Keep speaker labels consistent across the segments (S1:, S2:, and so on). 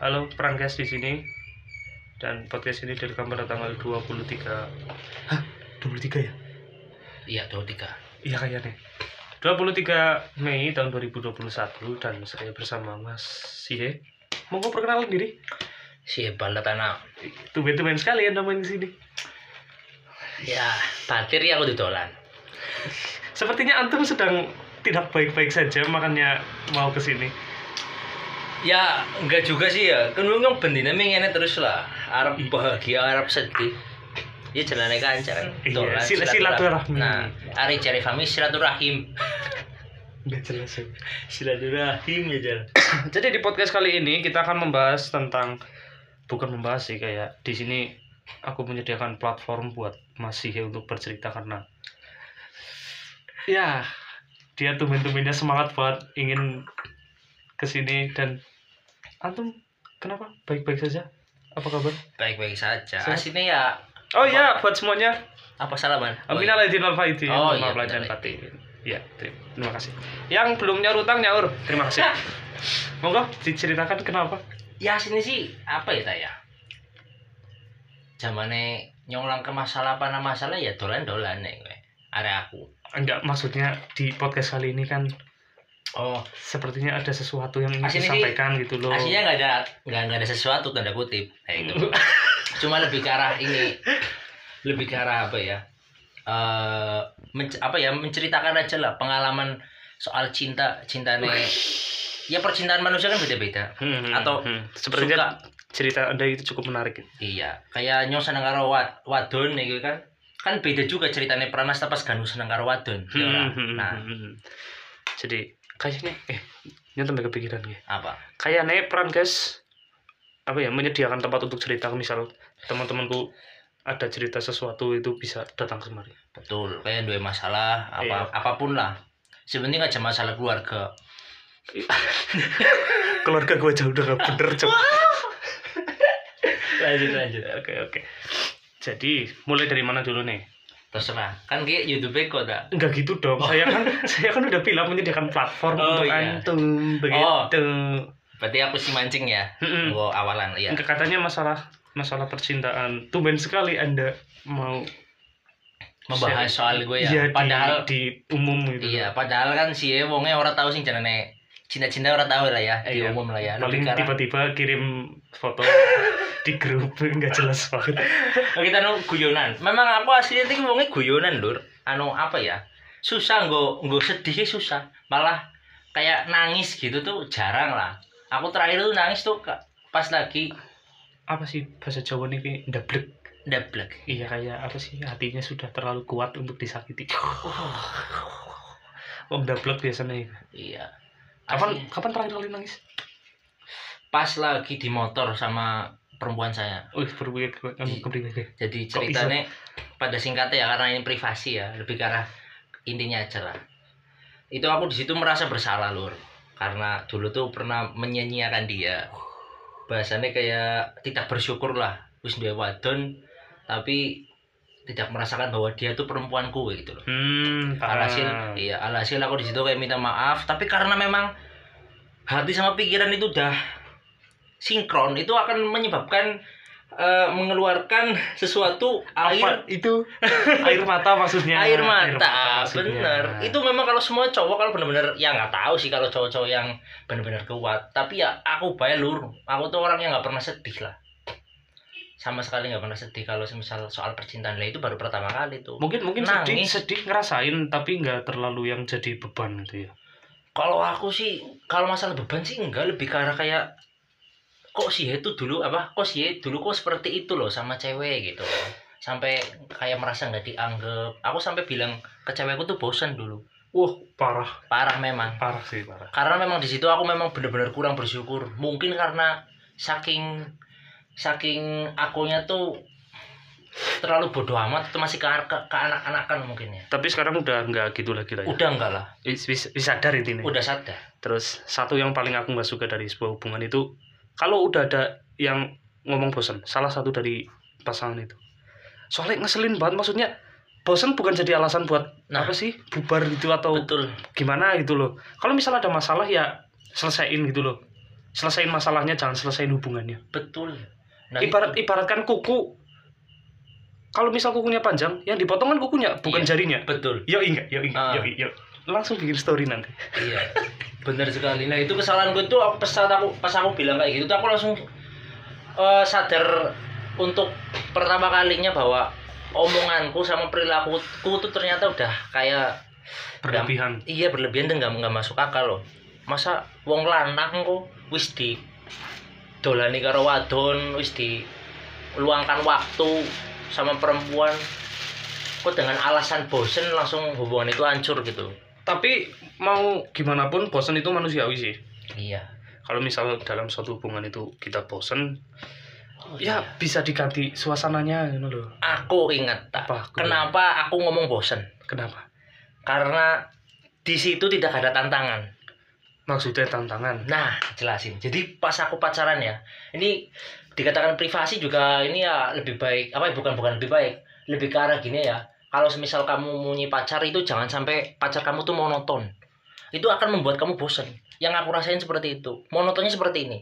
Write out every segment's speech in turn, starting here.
S1: Halo, Prangkes di sini. Dan podcast ini direkam pada tanggal 23. Hah, 23 ya?
S2: Iya, dua tiga.
S1: Iya kayaknya. 23 Mei tahun 2021 dan saya bersama Mas Sihe. Monggo perkenalan diri.
S2: Si Baldatana.
S1: Tumben-tumben sekali Anda main di sini.
S2: Ya, batir ya aku didolan.
S1: Sepertinya antum sedang tidak baik-baik saja makanya mau ke sini.
S2: Ya, enggak juga sih ya. Kan lu kan bendina mengene terus lah. Arab bahagia, Arab sedih. Hmm. Ya jalannya kancar.
S1: Iya,
S2: dolan,
S1: sila- silaturahmi.
S2: Nah, hari cari family silaturahim.
S1: Udah jelas ya.
S2: silaturahim ya jalan.
S1: Jadi di podcast kali ini kita akan membahas tentang bukan membahas sih kayak di sini aku menyediakan platform buat Mas Sihe untuk bercerita karena ya dia tumben-tumbennya semangat banget ingin kesini dan antum kenapa baik-baik saja apa kabar?
S2: Baik-baik saja.
S1: Sehat.
S2: Sini ya
S1: Oh iya buat semuanya
S2: apa salaman?
S1: Amin alaidin wal faizin. Mohon
S2: Oh, iya,
S1: maaf lahir dan
S2: benar.
S1: batin. Iya, terima terima kasih. Yang belum nyaur utang nyaur. Terima kasih. Monggo diceritakan kenapa?
S2: ya sini sih apa ya taya zamane nyolong ke masalah apa nama masalah ya dolan dolan nih gue ada aku
S1: Enggak, maksudnya di podcast kali ini kan
S2: oh
S1: sepertinya ada sesuatu yang ingin
S2: Aslinya sih-
S1: disampaikan gitu loh.
S2: aslinya nggak ada nggak nggak ada sesuatu tanda kutip kayak gitu cuma lebih ke arah ini lebih ke arah apa ya Eh menc- apa ya menceritakan aja lah pengalaman soal cinta cinta nih ya percintaan manusia kan beda beda
S1: Hmm, hmm,
S2: atau
S1: hmm. sepertinya cerita Anda itu cukup menarik. ya?
S2: Iya, kayak nyong seneng karo wa- wadon nih kan. Kan beda juga ceritanya Pranas pas Ganu seneng karo wadon. ya ora?
S1: Hmm, hmm,
S2: Nah,
S1: hmm, hmm. Jadi kayaknya eh nyetem kepikiran ya.
S2: apa?
S1: kayaknya peran guys apa ya menyediakan tempat untuk cerita misal teman-temanku ada cerita sesuatu itu bisa datang kemari
S2: Betul, kayak dua masalah
S1: Iya.
S2: apa apapun lah. Sebenarnya aja masalah keluarga.
S1: keluarga gue jauh udah gak bener coba
S2: Lanjut lanjut.
S1: oke oke jadi mulai dari mana dulu nih
S2: Terserah. Kan kayak YouTube kok tak?
S1: enggak gitu dong saya kan saya kan udah bilang menyediakan platform
S2: Oh,
S1: untuk
S2: iya.
S1: antum begitu
S2: Berarti aku si mancing ya.
S1: Mm-mm.
S2: Gua awalan iya.
S1: Enggak, katanya masalah masalah percintaan tumben sekali anda mau
S2: Membahas soal gue ya.
S1: Iya, di-
S2: padahal
S1: di, umum gitu
S2: iya, padahal kan si wonge ora tahu sing jenenge cinta-cinta ora tahu lah ya, di
S1: Iya.
S2: umum lah ya.
S1: paling
S2: Lebih ke arah-
S1: tiba-tiba kirim foto di grup nggak jelas banget
S2: Nah, kita anu guyonan. Memang aku aslinya itu ngomongnya guyonan lur. Anu apa ya? Susah nggo nggo sedih susah. Malah kayak nangis gitu tuh jarang lah. Aku terakhir tuh nangis tuh ke- pas lagi
S1: apa sih bahasa Jawa nih dablek
S2: dablek.
S1: iya kayak apa sih hatinya sudah terlalu kuat untuk disakiti
S2: Oh.
S1: om dablek biasanya ya.
S2: Iya.
S1: kapan
S2: Aslinya.
S1: kapan terakhir kali nangis
S2: Pas lagi di motor sama perempuan saya.
S1: oh berbunyi kepribadian
S2: Jadi
S1: Kok bisa?
S2: ceritanya pada singkatnya ya karena ini privasi ya, lebih ke arah intinya aja lah. Itu aku di situ merasa bersalah lur. Karena dulu tuh pernah menyanyiakan dia. Bahasanya kayak tidak bersyukur lah wis duwe wadon tapi tidak merasakan bahwa dia tuh perempuanku gitu loh.
S1: hmm
S2: Alhasil iya, alhasil aku di situ kayak minta maaf, tapi karena memang hati sama pikiran itu udah sinkron, itu akan menyebabkan eh, mengeluarkan sesuatu air
S1: air itu air mata maksudnya
S2: air mata,
S1: maksudnya.
S2: bener itu memang kalau semua cowok kalau bener-bener ya nggak tahu sih kalau cowok-cowok yang bener-bener kuat tapi ya aku bae lur aku tuh orang yang nggak pernah sedih lah sama sekali nggak pernah sedih kalau semisal soal percintaan lah itu baru pertama kali tuh
S1: mungkin mungkin sedih
S2: Nangis. sedih
S1: sedih ngerasain tapi nggak terlalu yang jadi beban gitu ya
S2: kalau aku sih kalau masalah beban sih enggak lebih ke arah kayak kok sih itu dulu apa kok sih dulu kok seperti itu loh sama cewek gitu loh sampai kayak merasa nggak dianggap aku sampai bilang ke cewekku tuh bosen dulu
S1: wah parah
S2: parah memang
S1: parah sih parah
S2: karena memang di situ aku memang benar-benar kurang bersyukur mungkin karena saking saking akunya tuh terlalu bodoh amat itu masih ke, ke, ke anak-anakan mungkin ya
S1: tapi sekarang udah nggak gitu lagi lah ya.
S2: udah enggak lah
S1: Wis- wis- wis sadar intinya
S2: udah sadar
S1: terus satu yang paling aku nggak suka dari sebuah hubungan itu kalau udah ada yang ngomong bosen salah satu dari pasangan itu soalnya ngeselin banget maksudnya bosen bukan jadi alasan buat
S2: Nah.
S1: apa sih bubar gitu atau
S2: betul
S1: gimana gitu loh kalau misalnya ada masalah ya selesaiin gitu loh selesain masalahnya jangan selesain hubungannya
S2: betul nah,
S1: ibarat ibaratkan kuku kalau misal kukunya panjang yang dipotong kan kukunya bukan
S2: Iya.
S1: jarinya
S2: betul
S1: yo ingat yo
S2: Ah.
S1: ingat yo yo langsung bikin story nanti
S2: iya benar sekali nah itu kesalahan gue tuh aku pesan aku pas aku bilang kayak gitu tuh aku langsung eh, sadar untuk pertama kalinya bahwa omonganku sama perilakuku tuh ternyata udah kayak
S1: berlebihan
S2: iya berlebihan dan nggak nggak masuk akal loh masa wong lanang kok wis di dolani karo wadon wis di luangkan waktu sama perempuan kok dengan alasan bosen langsung hubungan itu hancur gitu
S1: tapi mau gimana pun bosan itu manusiawi sih
S2: iya
S1: kalau misal dalam suatu hubungan itu kita bosan
S2: Oh, iya.
S1: ya bisa diganti suasananya gitu loh
S2: aku ingat tak
S1: Apa aku
S2: kenapa aku ngomong bosen
S1: kenapa
S2: karena di situ tidak ada tantangan
S1: maksudnya tantangan
S2: Nah, jelasin. Jadi pas aku pacaran ya, ini dikatakan privasi juga ini ya lebih baik. Apa ya, bukan bukan lebih baik, lebih ke arah gini ya. Kalau semisal kamu punya pacar itu jangan sampai pacar kamu tuh monoton. Itu akan membuat kamu bosen. Yang aku rasain seperti itu. Monotonnya seperti ini.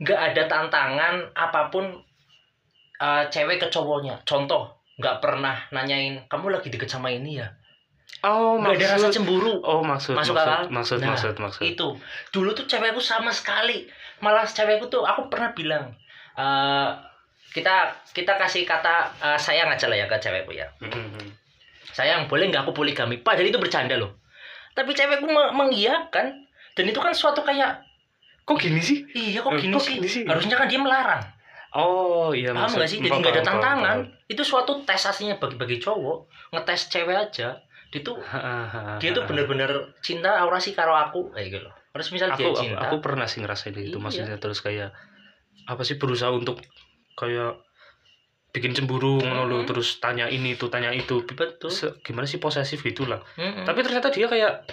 S2: Nggak ada tantangan apapun eh, cewek ke cowoknya. Contoh, nggak pernah nanyain kamu lagi deket sama ini ya.
S1: oh
S2: Nggak ada rasa cemburu.
S1: oh maksud
S2: Masuk akal?
S1: maksud maksud
S2: Nah,
S1: maksud maksud
S2: itu dulu tuh cewekku sama sekali malah cewekku tuh aku pernah bilang eh kita kita kasih kata eh, sayang aja lah ya ke cewekku ya
S1: Mhm.
S2: sayang boleh nggak aku poligami padahal itu bercanda loh tapi cewekku me- mengiyakan dan itu kan suatu kayak
S1: kok gini sih
S2: iya kok
S1: Eh,
S2: gini,
S1: kok
S2: sih?
S1: gini sih?
S2: harusnya kan dia melarang
S1: oh iya
S2: paham
S1: maksud-
S2: nggak sih jadi
S1: paham,
S2: nggak ada
S1: paham, paham,
S2: tantangan
S1: paham.
S2: itu suatu tes aslinya bagi bagi cowok ngetes cewek aja dia tuh
S1: Hahaha.
S2: dia tuh bener-bener cinta aura sih karo aku kayak gitu loh harus misal dia
S1: aku, aku
S2: cinta
S1: aku pernah sih ngerasain itu
S2: Iya.
S1: maksudnya terus kayak apa sih berusaha untuk kayak bikin cemburu ngono lho,
S2: Mhm.
S1: terus tanya ini itu tanya itu
S2: betul
S1: Se- gimana sih posesif gitulah
S2: Mm-mm.
S1: tapi ternyata dia kayak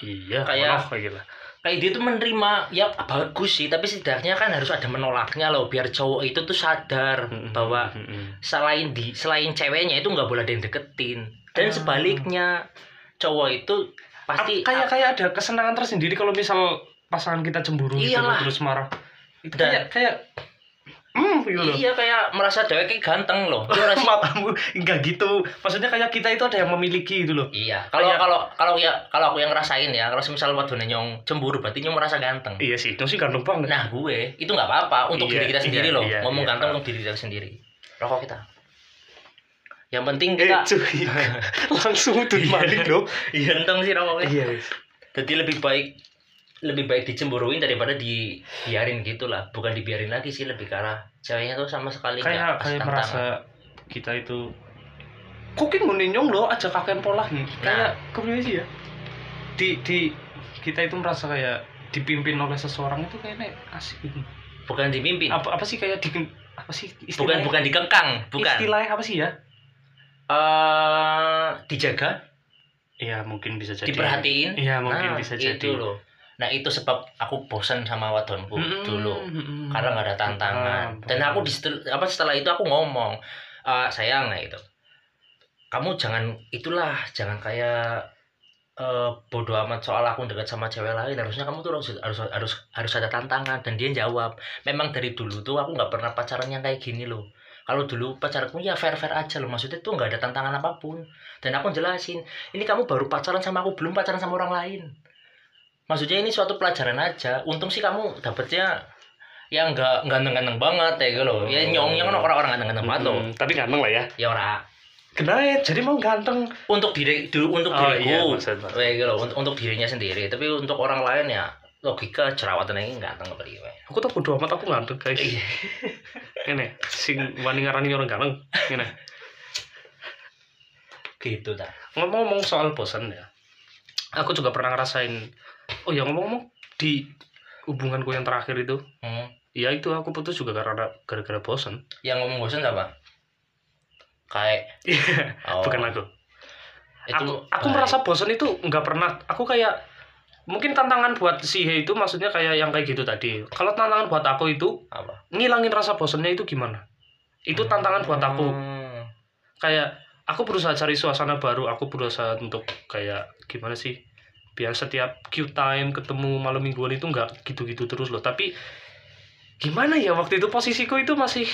S1: iya
S2: Kayak-
S1: oh, kayak gila
S2: kayak dia tuh menerima ya bagus sih tapi setidaknya kan harus ada menolaknya loh biar cowok itu tuh sadar
S1: Mhm,
S2: bahwa
S1: mhm.
S2: selain di selain ceweknya itu nggak boleh ada yang deketin dan
S1: Ah.
S2: sebaliknya cowok itu
S1: Ap-
S2: pasti
S1: kayak kayak ada kesenangan tersendiri kalau misal pasangan kita cemburu gitu loh,
S2: Iyalah.
S1: terus marah itu
S2: Dan-
S1: kayak kayak hmm gitu loh
S2: iya kayak merasa cewek kayak ganteng loh Dia merasa-
S1: matamu enggak gitu maksudnya kayak kita itu ada yang memiliki gitu loh
S2: iya kalau
S1: Kayak-
S2: kalau kalau ya kalau aku yang ngerasain ya kalau misal wadone nyong cemburu berarti nyong merasa ganteng
S1: iya sih itu sih ganteng banget
S2: nah gue itu nggak apa-apa untuk
S1: Iya,
S2: diri kita
S1: iya,
S2: sendiri loh
S1: iya,
S2: ngomong
S1: iya.
S2: ganteng untuk diri kita sendiri rokok kita yang penting
S1: eh,
S2: kita
S1: cuy langsung tuh maling loh
S2: iya ganteng sih rokoknya
S1: iya wis.
S2: jadi lebih baik lebih baik dicemburuin daripada dibiarin gitu lah bukan dibiarin lagi sih lebih ke arah ceweknya tuh sama sekali nggak
S1: kayak
S2: pas
S1: kayak
S2: tantangan.
S1: merasa kita itu kuking ngunyong loh aja kakek pola nih
S2: Nah.
S1: kayak kepriwe sih ya di di kita itu merasa kayak dipimpin oleh seseorang itu kayaknya asik gitu
S2: bukan dipimpin
S1: apa apa sih kayak di apa sih
S2: Iya. bukan
S1: istilahnya
S2: bukan dikengkang bukan
S1: istilahnya apa sih ya
S2: Eh, dijaga
S1: Iya mungkin bisa jadi
S2: diperhatiin
S1: iya mungkin
S2: Nah,
S1: bisa
S2: itu
S1: jadi
S2: loh nah itu sebab aku bosan sama wadonku
S1: Mm-mm,
S2: dulu
S1: mm-mm.
S2: karena nggak ada tantangan
S1: Hmm. Paham,
S2: dan aku
S1: paham.
S2: di setel- apa setelah itu aku ngomong "Eh, sayang nah itu kamu jangan itulah jangan kayak eh bodoh amat soal aku dekat sama cewek lain harusnya kamu tuh harus harus harus harus ada tantangan dan dia jawab memang dari dulu tuh aku nggak pernah pacaran yang kayak gini loh kalau dulu pacarku ya fair fair aja loh maksudnya tuh nggak ada tantangan apapun dan aku jelasin ini kamu baru pacaran sama aku belum pacaran sama orang lain maksudnya ini suatu pelajaran aja untung sih kamu dapetnya yang nggak ganteng-ganteng banget ya gitu loh
S1: Oh.
S2: ya nyongnya kan orang-orang ganteng-ganteng banget loh
S1: Mm, tapi ganteng lah ya
S2: ya orang
S1: Kenapa? Jadi mau ganteng.
S2: untuk diri du- untuk
S1: Oh,
S2: diriku
S1: iya, maksud- maksud.
S2: Kayak gitu loh, untuk, untuk dirinya sendiri tapi untuk orang lain ya logika jerawatan ini ganteng apa iya
S1: Aku tuh bodo amat aku ganteng guys. Ini sing wani ngarani orang ganteng. Ini
S2: gitu dah
S1: ngomong-ngomong soal bosan ya. Aku juga pernah ngerasain. Oh ya ngomong-ngomong di hubunganku yang terakhir itu,
S2: hmm.
S1: ya itu aku putus juga karena gara-gara bosan.
S2: yang ngomong bosan apa kayak oh,
S1: Iya, Bukan aku.
S2: itu
S1: aku aku
S2: baik.
S1: merasa bosan itu nggak pernah aku kayak mungkin tantangan buat si He itu maksudnya kayak yang kayak gitu tadi kalau tantangan buat aku itu
S2: apa
S1: ngilangin rasa bosannya itu gimana itu tantangan buat aku
S2: Hmm.
S1: kayak aku berusaha cari suasana baru aku berusaha untuk kayak gimana sih biar setiap Q time ketemu malam mingguan itu nggak gitu-gitu terus loh tapi gimana ya waktu itu posisiku itu masih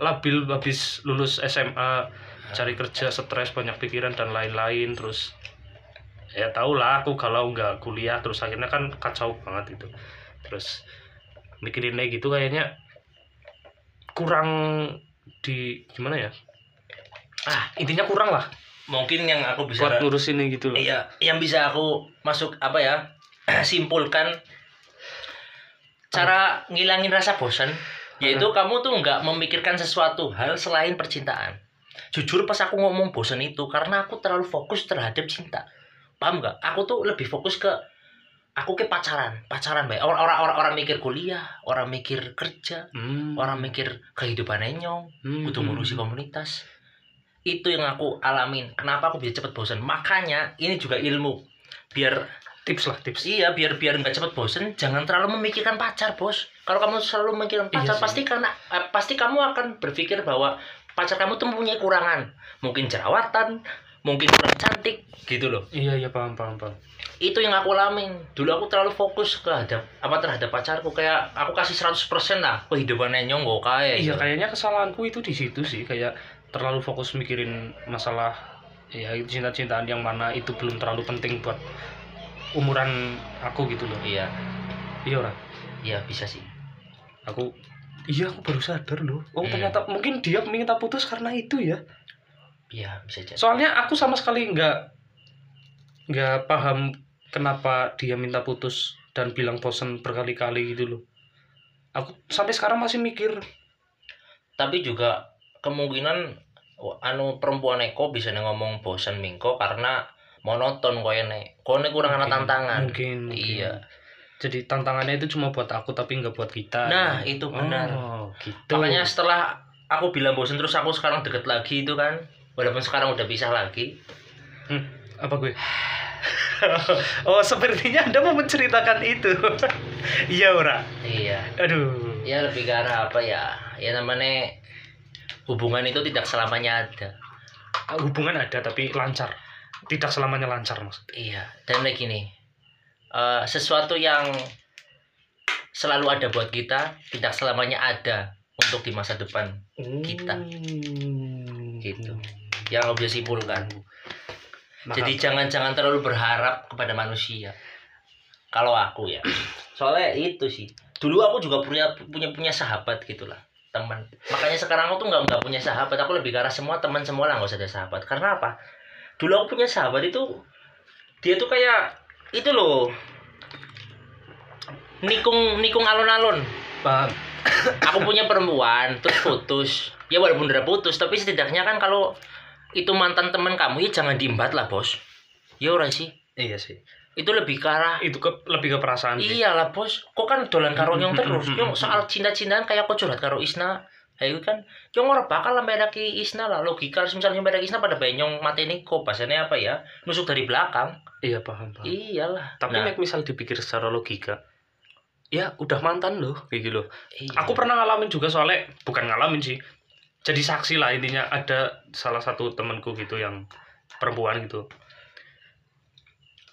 S1: labil habis lulus SMA cari kerja stres banyak pikiran dan lain-lain terus ya tau lah aku kalau nggak kuliah terus akhirnya kan kacau banget itu terus mikirinnya gitu kayaknya kurang di gimana ya ah intinya kurang lah
S2: mungkin yang aku bisa
S1: buat ngurus ini gitu loh
S2: Iya, yang bisa aku masuk apa ya? simpulkan cara ngilangin rasa bosan yaitu kamu tuh nggak memikirkan sesuatu hal selain percintaan. Jujur pas aku ngomong bosan itu karena aku terlalu fokus terhadap cinta. Paham nggak? Aku tuh lebih fokus ke aku ke pacaran, pacaran baik. Orang orang orang, orang mikir kuliah, orang mikir kerja,
S1: Hmm.
S2: orang mikir kehidupan enyong
S1: Hmm.
S2: butuh ngurusi komunitas itu yang aku alamin kenapa aku bisa cepet bosen makanya ini juga ilmu biar
S1: tips lah tips
S2: iya biar biar nggak cepet bosen jangan terlalu memikirkan pacar bos kalau kamu selalu
S1: Iya
S2: memikirkan pacar
S1: sih.
S2: pasti karena eh, pasti kamu akan berpikir bahwa pacar kamu tuh mempunyai kurangan mungkin jerawatan mungkin kurang cantik gitu loh
S1: iya iya paham paham paham
S2: itu yang aku alamin dulu aku terlalu fokus ke hadap- apa terhadap pacarku kayak aku kasih 100% lah kehidupan nyong gue kayak
S1: Iya kayaknya kesalahanku itu di situ sih kayak terlalu fokus mikirin masalah ya itu cinta-cintaan yang mana itu belum terlalu penting buat umuran aku gitu loh.
S2: iya
S1: Iya orang.
S2: iya bisa sih
S1: Aku iya aku baru sadar loh. Oh
S2: Hmm.
S1: ternyata mungkin dia minta putus karena itu ya.
S2: iya bisa jadi
S1: Soalnya aku sama sekali nggak nggak paham kenapa dia minta putus dan bilang bosen berkali-kali gitu loh. Aku sampai sekarang masih mikir.
S2: tapi juga kemungkinan w- anu perempuan Eko bisa nih ngomong bosen mingko karena monoton koyo nek koyo kurang ana
S1: mungkin-
S2: tantangan
S1: Mungkin, mungkin.
S2: Iya.
S1: Jadi tantangannya itu cuma buat aku tapi nggak buat kita.
S2: nah itu benar
S1: Oh, gitu.
S2: makanya setelah aku bilang bosen terus aku sekarang deket lagi itu kan walaupun sekarang udah pisah lagi
S1: apa gue? oh, sepertinya Anda mau menceritakan itu. Iya, ora.
S2: iya
S1: Aduh.
S2: ya lebih ke arah apa ya ya namanya hubungan itu tidak selamanya ada
S1: Hubungan ada tapi lancar. Tidak selamanya lancar, maksudnya.
S2: Iya, dan lagi nih. eh, sesuatu yang selalu ada buat kita, tidak selamanya ada untuk di masa depan. Kita.
S1: Hmm.
S2: Gitu. Yang bisa simpulkan.
S1: Maka-
S2: Jadi jangan-jangan terlalu berharap kepada manusia. Kalau aku ya. Soalnya itu sih. Dulu aku juga punya punya punya sahabat gitulah teman makanya sekarang aku tuh nggak nggak punya sahabat aku lebih ke arah semua teman semua lah nggak usah ada sahabat karena apa dulu aku punya sahabat itu dia tuh kayak itu loh nikung nikung alon-alon
S1: paham.
S2: aku punya perempuan terus putus ya walaupun udah putus tapi setidaknya kan kalau itu mantan teman kamu ya jangan diembat lah bos ya ora sih
S1: Iya sih.
S2: itu lebih ke arah
S1: Itu ke, lebih ke perasaan sih.
S2: iyalah bos kok kan dolan karo nyong terus
S1: Mm-mm.
S2: nyong soal cinta-cintaan kayak kok curhat karo Isna Ayo kan, yang ora bakal lah meraki Isna lah logika harus misalnya meraki Isna pada benyong mati kok pasannya apa ya nusuk dari belakang
S1: Iya, paham, paham.
S2: iyalah
S1: Tapi
S2: Nah,
S1: nek misal dipikir secara logika, ya udah mantan loh, kayak gitu loh.
S2: iya.
S1: aku pernah ngalamin juga soalnya bukan ngalamin sih jadi saksi lah intinya ada salah satu temanku gitu yang perempuan gitu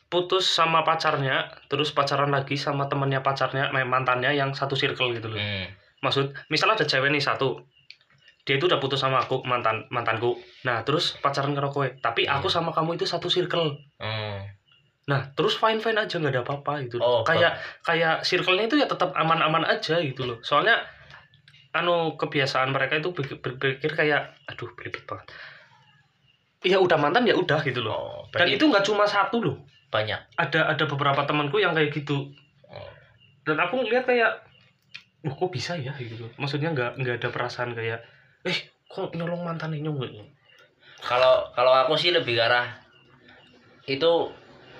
S1: putus sama pacarnya terus pacaran lagi sama temannya pacarnya eh, mantannya yang satu circle gitu loh
S2: Hmm,
S1: maksud misalnya ada cewek nih satu dia itu udah putus sama aku mantan mantanku nah terus pacaran karo kowe tapi aku sama kamu itu satu circle
S2: hmm.
S1: nah terus fine fine aja nggak ada apa-apa gitu
S2: Oh,
S1: kayak kayak circle-nya itu ya tetap aman-aman aja gitu loh. Soalnya anu kebiasaan mereka itu berpikir, berpikir kayak aduh beribet banget. Ya udah mantan ya udah gitu loh.
S2: oh,
S1: Dan
S2: berarti
S1: itu nggak cuma satu loh.
S2: banyak
S1: Ada ada beberapa temanku yang kayak gitu.
S2: Oh.
S1: Dan aku ngeliat kayak Wah kok bisa ya gitu loh. Maksudnya nggak nggak ada perasaan kayak eh kok nyolong mantan ini nyolong nggak?"
S2: kalau kalau aku sih lebih ke arah itu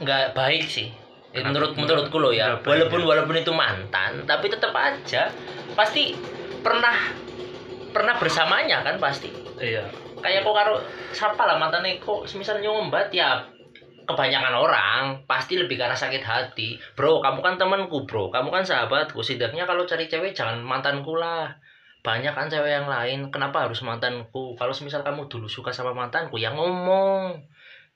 S2: nggak baik sih Ya,
S1: Kenapa?
S2: menurut menurutku loh ya
S1: Nggak baik,
S2: walaupun
S1: ya.
S2: walaupun itu mantan tapi tetap aja pasti pernah pernah bersamanya kan pasti
S1: Iya.
S2: kayak kok karo siapa lah mantannya kok semisal nyombat ya kebanyakan orang pasti lebih karena sakit hati bro kamu kan temanku bro kamu kan sahabatku setidaknya kalau cari cewek jangan mantanku lah banyak kan cewek yang lain kenapa harus mantanku kalau semisal kamu dulu suka sama mantanku ya ngomong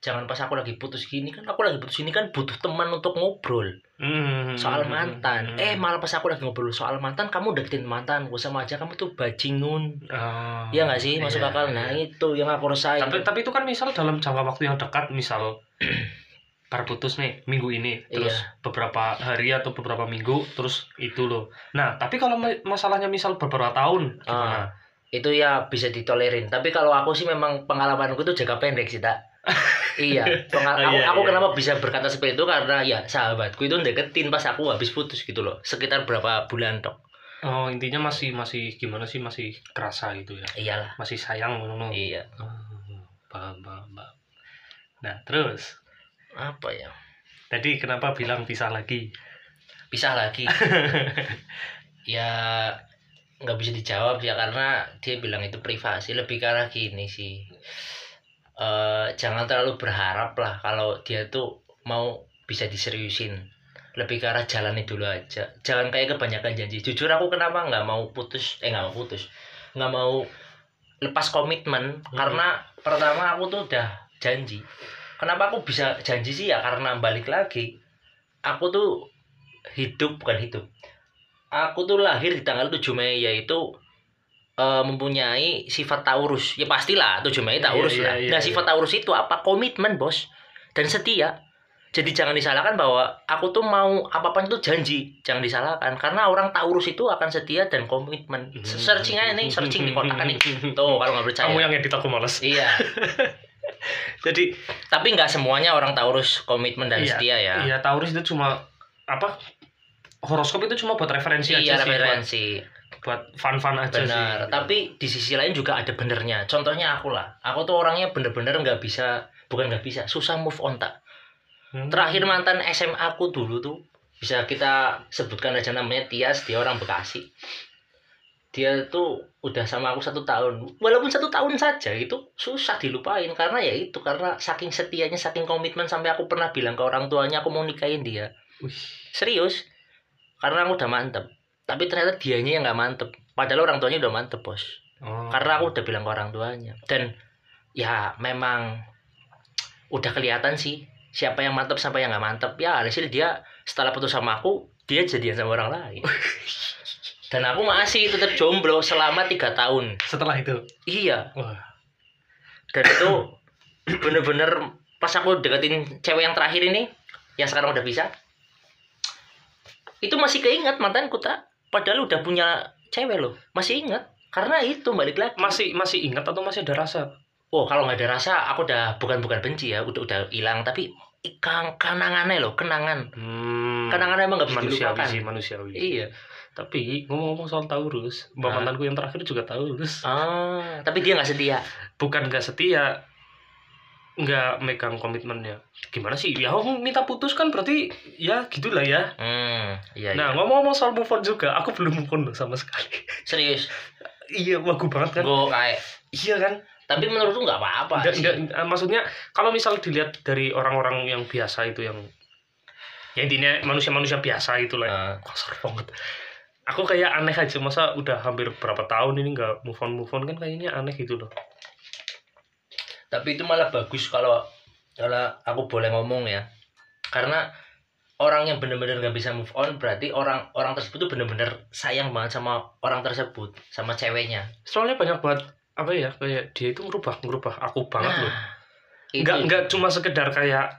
S2: jangan pas aku lagi putus gini kan aku lagi putus ini kan butuh teman untuk ngobrol
S1: Hmm.
S2: soal mantan eh malah pas aku lagi ngobrol soal mantan kamu deketin mantan gue sama aja kamu tuh bajingun
S1: Oh.
S2: Iya nggak sih masuk
S1: Iya,
S2: akal nah
S1: iya.
S2: itu yang aku resahin
S1: tapi tapi itu kan misal dalam jangka waktu yang dekat misal baru putus nih minggu
S2: Iya.
S1: ini terus beberapa hari atau beberapa minggu terus itu loh nah tapi kalau ma- masalahnya misal beberapa tahun gimana
S2: Ah, itu ya bisa ditolerin tapi kalau aku sih memang pengalamanku tuh jaga pendek sih tak iya pengal-
S1: Oh,
S2: aku,
S1: iya,
S2: aku
S1: iya.
S2: kenapa bisa berkata seperti itu karena ya sahabatku itu deketin pas aku habis putus gitu loh sekitar berapa bulan tok
S1: oh intinya masih masih gimana sih masih kerasa gitu ya
S2: iyalah
S1: masih sayang ngono
S2: iya
S1: Oh, paham paham paham nah terus
S2: apa ya
S1: tadi kenapa bilang pisah lagi
S2: pisah lagi ya nggak bisa dijawab ya karena dia bilang itu privasi lebih ke arah gini sih Eh, jangan terlalu berharap lah kalau dia tuh mau bisa diseriusin lebih ke arah jalani dulu aja jangan kayak kebanyakan janji jujur aku kenapa nggak mau putus eh nggak mau putus nggak mau lepas komitmen karena pertama aku tuh udah janji kenapa aku bisa janji sih ya karena balik lagi aku tuh hidup bukan hidup aku tuh lahir di tanggal 7 Mei yaitu eh, mempunyai sifat Taurus ya pastilah 7 Mei
S1: Iya,
S2: Taurus
S1: iya,
S2: lah
S1: iya,
S2: nah
S1: iya.
S2: sifat Taurus itu apa komitmen bos dan setia jadi jangan disalahkan bahwa aku tuh mau apapun itu janji jangan disalahkan karena orang Taurus itu akan setia dan komitmen
S1: Hmm.
S2: searching aja nih searching di kotakan nih tuh kalau nggak percaya
S1: kamu yang edit aku males
S2: iya
S1: jadi
S2: tapi nggak semuanya orang Taurus komitmen dan
S1: Iya,
S2: setia ya
S1: iya Taurus itu cuma apa horoskop itu cuma buat referensi
S2: iya
S1: aja sih buat-
S2: referensi
S1: buat fun-fun aja sih.
S2: benar tapi di sisi lain juga ada benernya contohnya aku lah aku tuh orangnya bener-bener nggak bisa bukan nggak bisa susah move on tak
S1: Hmm.
S2: terakhir mantan SMA aku dulu tuh bisa kita sebutkan aja namanya Tias dia orang Bekasi dia tuh udah sama aku satu tahun walaupun satu tahun saja itu susah dilupain karena ya itu karena saking setianya saking komitmen sampai aku pernah bilang ke orang tuanya aku mau nikahin dia
S1: Wih.
S2: serius karena aku udah mantep tapi ternyata dianya yang nggak mantep padahal orang tuanya udah mantep bos
S1: Oh.
S2: karena aku udah bilang ke orang tuanya dan ya memang udah kelihatan sih siapa yang mantep siapa yang nggak mantep ya hasil dia setelah putus sama aku dia jadian sama orang lain dan aku masih tetap jomblo selama tiga tahun
S1: setelah itu
S2: iya
S1: wah
S2: dan itu bener-bener pas aku deketin cewek yang terakhir ini yang sekarang udah bisa itu masih keinget mantanku tak padahal udah punya cewek loh masih ingat karena itu balik lagi
S1: masih masih ingat atau masih ada rasa
S2: oh kalau nggak ada rasa aku udah bukan bukan benci ya udah udah hilang tapi ikang kenangannya loh kenangan
S1: hmm.
S2: kenangannya emang nggak bisa
S1: manusiawi
S2: dilupakan
S1: sih manusiawi
S2: iya
S1: tapi ngomong-ngomong soal Taurus mbak
S2: Hah?
S1: mantanku yang terakhir juga Taurus
S2: ah tapi dia nggak setia
S1: bukan nggak setia nggak megang komitmennya gimana sih ya aku minta putus kan berarti ya gitulah ya
S2: hmm iya,
S1: nah
S2: iya.
S1: ngomong-ngomong soal move on juga aku belum move on loh sama sekali
S2: serius
S1: iya wagu banget kan
S2: gue kayak
S1: iya kan
S2: tapi menurutku nggak apa-apa
S1: Nggak-
S2: sih.
S1: nggak- eh, maksudnya kalau misal dilihat dari orang-orang yang biasa itu yang ya intinya manusia-manusia biasa itulah
S2: Ah,
S1: kasar banget aku kayak aneh aja masa udah hampir berapa tahun ini nggak move on move on kan kayaknya aneh gitu loh
S2: tapi itu malah bagus kalau kalau aku boleh ngomong ya karena orang yang benar-benar nggak bisa move on berarti orang orang tersebut tuh benar-benar sayang banget sama orang tersebut sama ceweknya
S1: soalnya banyak buat apa ya kayak dia itu ngerubah ngerubah aku banget loh
S2: Nah, itu
S1: nggak nggak cuma sekedar kayak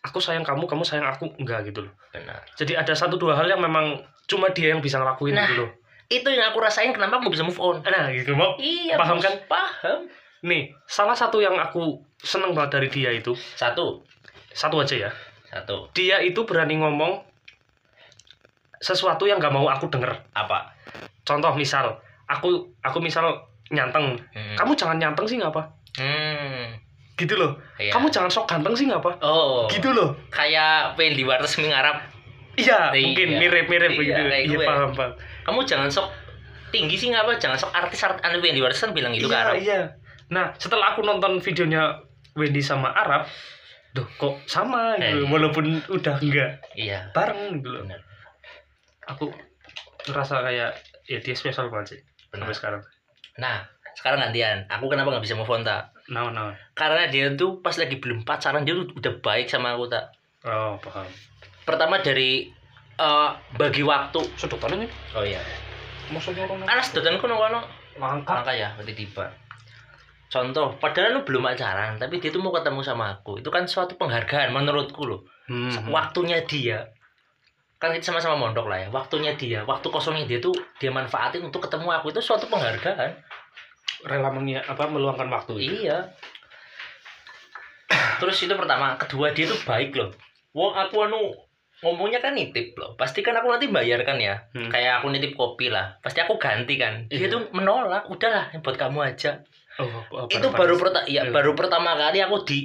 S1: aku sayang kamu kamu sayang aku nggak gitu loh
S2: benar
S1: jadi ada satu dua hal yang memang cuma dia yang bisa ngelakuin
S2: Nah.
S1: gitu loh
S2: itu yang aku rasain kenapa aku bisa move on
S1: nah gitu mau
S2: iya
S1: Paham
S2: Bos,
S1: kan?
S2: paham
S1: nih salah satu yang aku seneng banget dari dia itu
S2: satu
S1: satu aja ya
S2: satu
S1: dia itu berani ngomong sesuatu yang gak mau aku denger
S2: apa
S1: contoh misal aku aku misal nyanteng
S2: Hmm.
S1: kamu jangan nyanteng sih nggak apa
S2: Hmm,
S1: gitu loh
S2: iya.
S1: kamu jangan sok ganteng sih nggak apa
S2: oh
S1: gitu loh
S2: kayak Wendy Watersmi ngarap
S1: iya
S2: Iya.
S1: mungkin mirip mirip
S2: Iya,
S1: begitu
S2: kayak
S1: iya
S2: gue.
S1: paham paham
S2: kamu jangan sok tinggi sih nggak apa jangan sok artis artis Wendy Watersmi kan bilang gitu
S1: iya
S2: kan
S1: iya nah setelah aku nonton videonya Wendy sama Arab Duh kok sama gitu
S2: Eh.
S1: walaupun udah enggak
S2: iya
S1: bareng gitu loh
S2: benar
S1: aku ngerasa kayak ya dia spesial banget sih
S2: benar
S1: sampai sekarang
S2: Nah, sekarang gantian aku kenapa nggak bisa move on tak
S1: no no
S2: karena dia tuh pas lagi belum pacaran dia tuh udah baik sama aku tak
S1: oh paham
S2: pertama dari eh, bagi waktu
S1: sedotan ini
S2: oh iya
S1: maksudnya orang
S2: alas dotan kono kono
S1: langka
S2: langka ya berarti tiba contoh padahal lu belum pacaran tapi dia tuh mau ketemu sama aku itu kan suatu penghargaan menurutku loh
S1: hmm.
S2: waktunya dia kan kita sama-sama mondok lah ya waktunya dia waktu kosongnya dia tuh dia manfaatin untuk ketemu aku itu suatu penghargaan
S1: rela menya, apa meluangkan waktu gitu.
S2: iya terus itu pertama kedua dia tuh baik loh wong aku anu ngomongnya kan nitip loh pasti kan aku nanti bayar kan ya
S1: Hmm.
S2: kayak aku nitip kopi lah pasti aku ganti kan
S1: Iya.
S2: dia tuh menolak udahlah buat kamu aja
S1: oh, oh,
S2: itu
S1: pada-
S2: baru pertama
S1: Iya.
S2: ya baru pertama kali aku di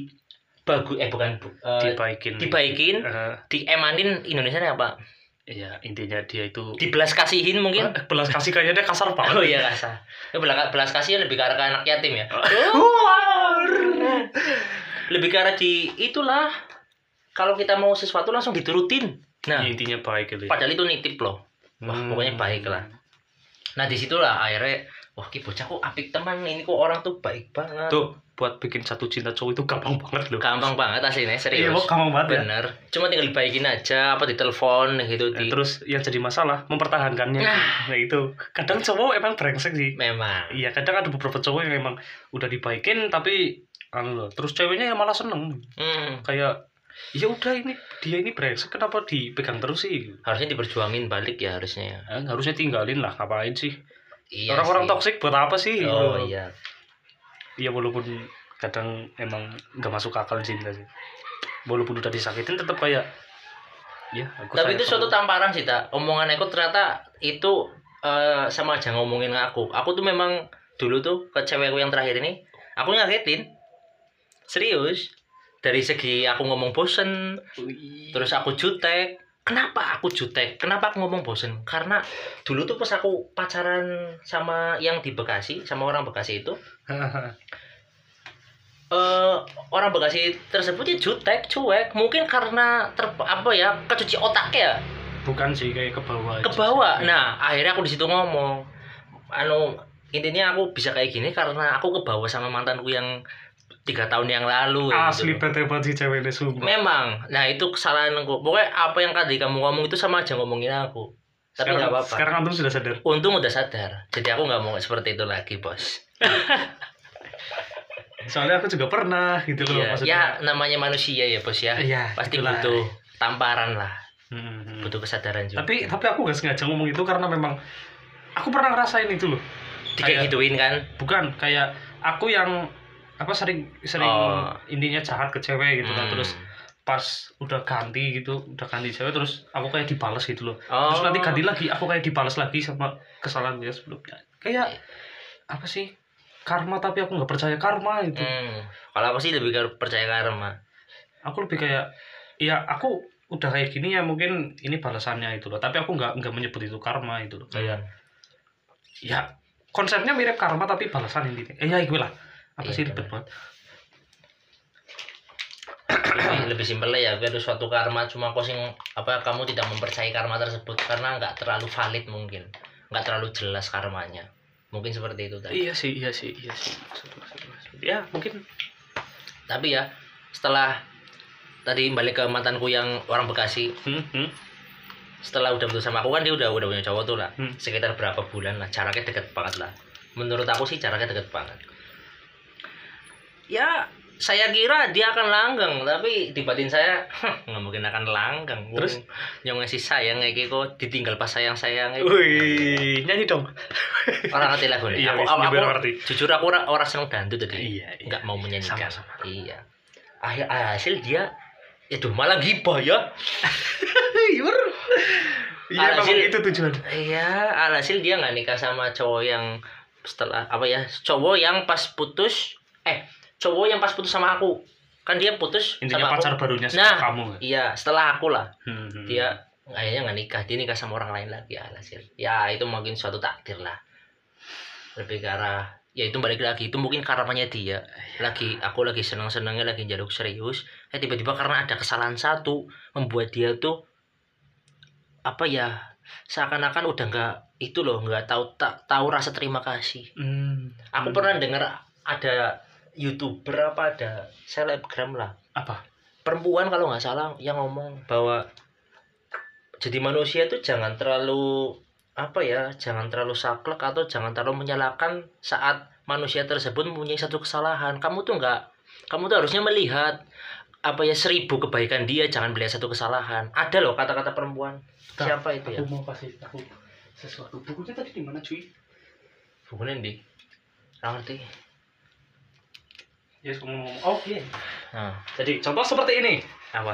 S2: bagu eh bukan bu, eh,
S1: dibaikin
S2: dibaikin
S1: Eh,
S2: di emanin Indonesia apa
S1: iya intinya dia itu
S2: dibelas kasihin mungkin
S1: Eh, belas kasih kayaknya dia kasar banget
S2: Oh iya kasar. Itu belas, belas kasih ya lebih ke arah ke anak yatim ya.
S1: Oh.
S2: Oh. lebih ke arah di itulah. Kalau kita mau sesuatu langsung diturutin. Nah,
S1: intinya baik gitu ya.
S2: padahal itu nitip loh. Wah,
S1: Hmm.
S2: pokoknya baik lah. Nah, disitulah akhirnya wah ki bocah kok apik teman ini kok orang tuh baik banget.
S1: tuh buat bikin satu cinta cowok itu gampang banget loh
S2: Gampang banget aslinya
S1: iya
S2: serius.
S1: kok gampang banget ya
S2: Bener. Cuma tinggal dibaikin aja apa ditelepon gitu
S1: Nah,
S2: di
S1: terus yang jadi masalah mempertahankannya
S2: Ah.
S1: nah itu kadang cowok emang brengsek sih
S2: memang.
S1: iya kadang ada beberapa cowok yang emang udah dibaikin tapi anu loh terus ceweknya ya malah seneng
S2: Hmm,
S1: kayak ya udah ini dia ini brengsek kenapa dipegang terus sih
S2: harusnya diperjuangin balik ya harusnya.
S1: Eh, harusnya tinggalin lah ngapain sih
S2: Iya.
S1: orang-orang
S2: sih.
S1: toksik buat apa sih
S2: Oh
S1: Gitu.
S2: iya.
S1: Iya walaupun kadang emang nggak masuk akal cinta sih. Walaupun udah disakitin tetap kayak ya aku
S2: tapi
S1: sayang
S2: itu suatu
S1: sama-
S2: tamparan sih tak omongan aku ternyata itu eh, sama aja ngomongin aku aku tuh memang dulu tuh ke cewekku yang terakhir ini aku nyakitin serius dari segi aku ngomong bosen terus aku jutek kenapa aku jutek kenapa aku ngomong bosen karena dulu tuh pas aku pacaran sama yang di Bekasi sama orang Bekasi itu eh orang Bekasi tersebut ya jutek cuek mungkin karena ter apa ya kecuci otak ya
S1: bukan sih kayak ke bawah.
S2: ke
S1: aja
S2: bawah
S1: sih.
S2: nah akhirnya aku di situ ngomong anu intinya aku bisa kayak gini karena aku ke bawah sama mantanku yang tiga tahun yang lalu ya,
S1: asli
S2: gitu.
S1: bete banget sih cewek ini sumpah.
S2: memang nah itu kesalahan aku pokoknya apa yang tadi kamu ngomong itu sama aja ngomongin aku tapi nggak
S1: Sekarang-
S2: apa-apa
S1: Sekarang antum sudah sadar.
S2: untung udah sadar jadi aku nggak mau seperti itu lagi bos
S1: Soalnya aku juga pernah gitu loh
S2: iya ya
S1: maksudnya.
S2: namanya manusia ya bos ya
S1: Iya,
S2: pasti
S1: gitulah.
S2: butuh tamparan lah
S1: Mm, mm.
S2: butuh kesadaran juga
S1: Tapi tapi aku nggak sengaja ngomong itu karena memang aku pernah ngerasain itu loh.
S2: kayak gituin kan
S1: bukan kayak aku yang apa sering sering
S2: Oh.
S1: intinya jahat ke cewek gitu kan
S2: Hmm.
S1: terus pas udah ganti gitu udah ganti cewek terus aku kayak dibales gitu loh
S2: oh.
S1: terus nanti ganti lagi aku kayak dibales lagi sama kesalahan dia sebelumnya kayak apa sih karma tapi aku nggak percaya karma itu
S2: Hmm. kalau aku sih lebih ke percaya karma
S1: aku lebih kayak ya aku udah kayak gini ya mungkin ini balasannya itu loh tapi aku nggak nggak menyebut itu karma itu loh
S2: Hmm.
S1: kayak ya konsepnya mirip karma tapi balasan intinya eh ya gue lah apa
S2: Iya,
S1: sih
S2: bener.
S1: ribet banget
S2: lebih, lebih simpel lah ya gue ada suatu karma cuma kau sing apa kamu tidak mempercayai karma tersebut karena nggak terlalu valid mungkin nggak terlalu jelas karmanya mungkin seperti itu tadi
S1: Iya sih, iya sih, iya sih. Maksud, maksud, maksud. Ya mungkin
S2: tapi ya setelah tadi balik ke mantanku yang orang Bekasi
S1: hmm, hmm,
S2: setelah udah putus sama aku kan dia udah udah punya cowok tuh lah
S1: Hmm.
S2: sekitar berapa bulan lah jaraknya deket banget lah menurut aku sih jaraknya deket banget ya saya kira dia akan langgeng tapi di batin saya nggak mungkin akan langgeng Wong,
S1: Terus?
S2: yang ngasih sayang kayak gitu kok ditinggal pas sayang sayang
S1: Oh, Wih, nyanyi dong.
S2: orang ngerti lagu ini
S1: Iya,
S2: aku,
S1: wis,
S2: aku,
S1: iya, biar
S2: aku-
S1: ngerti.
S2: jujur aku orang orang seneng dangdut tadi
S1: Iya, iya.
S2: nggak mau menyanyikan
S1: Sama-sama.
S2: iya akhir hasil dia itu malah gibah ya
S1: Iya, Iya,
S2: Ah,
S1: memang
S2: Zil.
S1: itu tujuan.
S2: Iya, alhasil dia nggak nikah sama cowok yang setelah apa ya? Cowok yang pas putus, eh, cowok yang pas putus sama aku, kan dia putus
S1: Intinya
S2: sama
S1: pacar
S2: aku.
S1: barunya sama
S2: Nah.
S1: kamu. kan?
S2: Iya, setelah aku lah,
S1: Hmm, hmm.
S2: dia akhirnya nggak nikah, dia nikah sama orang lain lagi alhasil. Ya itu mungkin suatu takdir lah. Lebih ke arah, ya itu balik lagi, itu mungkin karamanya dia. Lagi aku lagi seneng senengnya lagi jaluk serius, eh tiba-tiba karena ada kesalahan satu membuat dia tuh apa ya seakan-akan udah nggak itu loh nggak tahu tak tahu rasa terima kasih
S1: Hmm.
S2: Aku
S1: Hmm.
S2: pernah dengar ada youtuber apa ada selebgram lah.
S1: Apa?
S2: Perempuan kalau nggak salah yang ngomong bahwa jadi manusia itu jangan terlalu apa ya, jangan terlalu saklek atau jangan terlalu menyalahkan saat manusia tersebut mempunyai satu kesalahan. Kamu tuh nggak, kamu tuh harusnya melihat apa ya seribu kebaikan dia, jangan melihat satu kesalahan. Ada loh kata-kata perempuan.
S1: Bentar,
S2: Siapa itu ya?
S1: Aku mau kasih tahu sesuatu. Bukunya tadi di mana, cuy?
S2: Bukunya di. Nggak ngerti.
S1: Ya, yes, ngomong. Oh, iya.
S2: Nah,
S1: Jadi, contoh seperti ini.
S2: apa?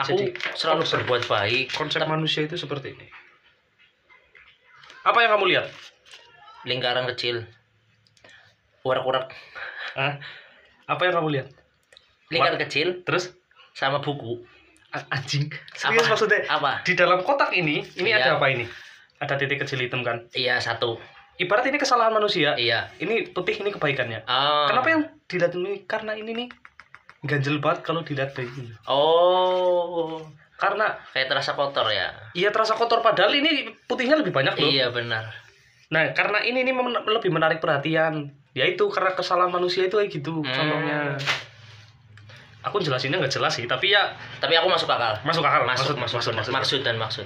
S2: Aku
S1: Jadi,
S2: selalu
S1: konsep-
S2: berbuat baik.
S1: Konsep manusia itu seperti ini. Apa yang kamu lihat?
S2: lingkaran kecil urak-urak
S1: Hah? Apa yang kamu lihat?
S2: lingkaran kecil
S1: Terus?
S2: sama buku
S1: A- anjing. Serius maksudnya?
S2: apa
S1: Di dalam kotak ini, ini
S2: Iya.
S1: ada apa ini? Ada titik kecil hitam kan?
S2: iya satu
S1: Ibarat ini kesalahan manusia.
S2: iya
S1: Ini putih, ini kebaikannya.
S2: Ah.
S1: Kenapa yang dilihat ini? Karena ini nih ganjel banget kalau dilihat dari ini.
S2: oh
S1: Karena
S2: kayak terasa kotor ya
S1: ia terasa kotor padahal ini putihnya lebih banyak loh.
S2: iya benar
S1: Nah, karena ini nih men- lebih menarik perhatian. Yaitu karena kesalahan manusia itu kayak gitu
S2: Hmm.
S1: contohnya. Aku jelasinnya nggak jelas sih, tapi ya
S2: tapi aku masuk akal
S1: masuk akal.
S2: masuk masuk
S1: maksud,
S2: maksud, maksud dan maksud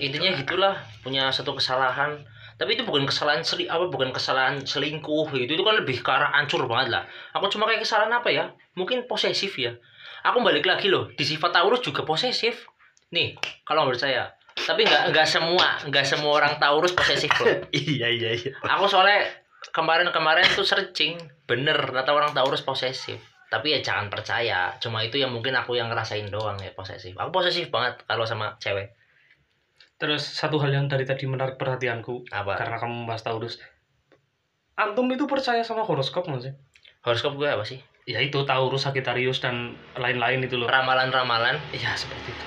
S2: intinya gitulah punya satu kesalahan tapi itu bukan kesalahan seli apa bukan kesalahan selingkuh gitu itu kan lebih ke arah hancur banget lah aku cuma kayak kesalahan apa ya mungkin posesif ya aku balik lagi loh di sifat Taurus juga posesif nih kalau menurut saya tapi nggak nggak semua nggak semua orang Taurus posesif loh
S1: iya, iya, iya.
S2: aku soalnya kemarin-kemarin tuh searching bener kata orang Taurus posesif tapi ya jangan percaya cuma itu yang mungkin aku yang ngerasain doang ya posesif aku posesif banget kalau sama cewek
S1: Terus satu hal yang dari tadi menarik perhatianku
S2: apa
S1: karena kamu membahas Taurus. Antum itu percaya sama horoskop nggak sih?
S2: horoskop gue apa sih
S1: Ya itu Taurus, Sagittarius dan lain-lain itu loh.
S2: ramalan-ramalan
S1: Iya seperti itu.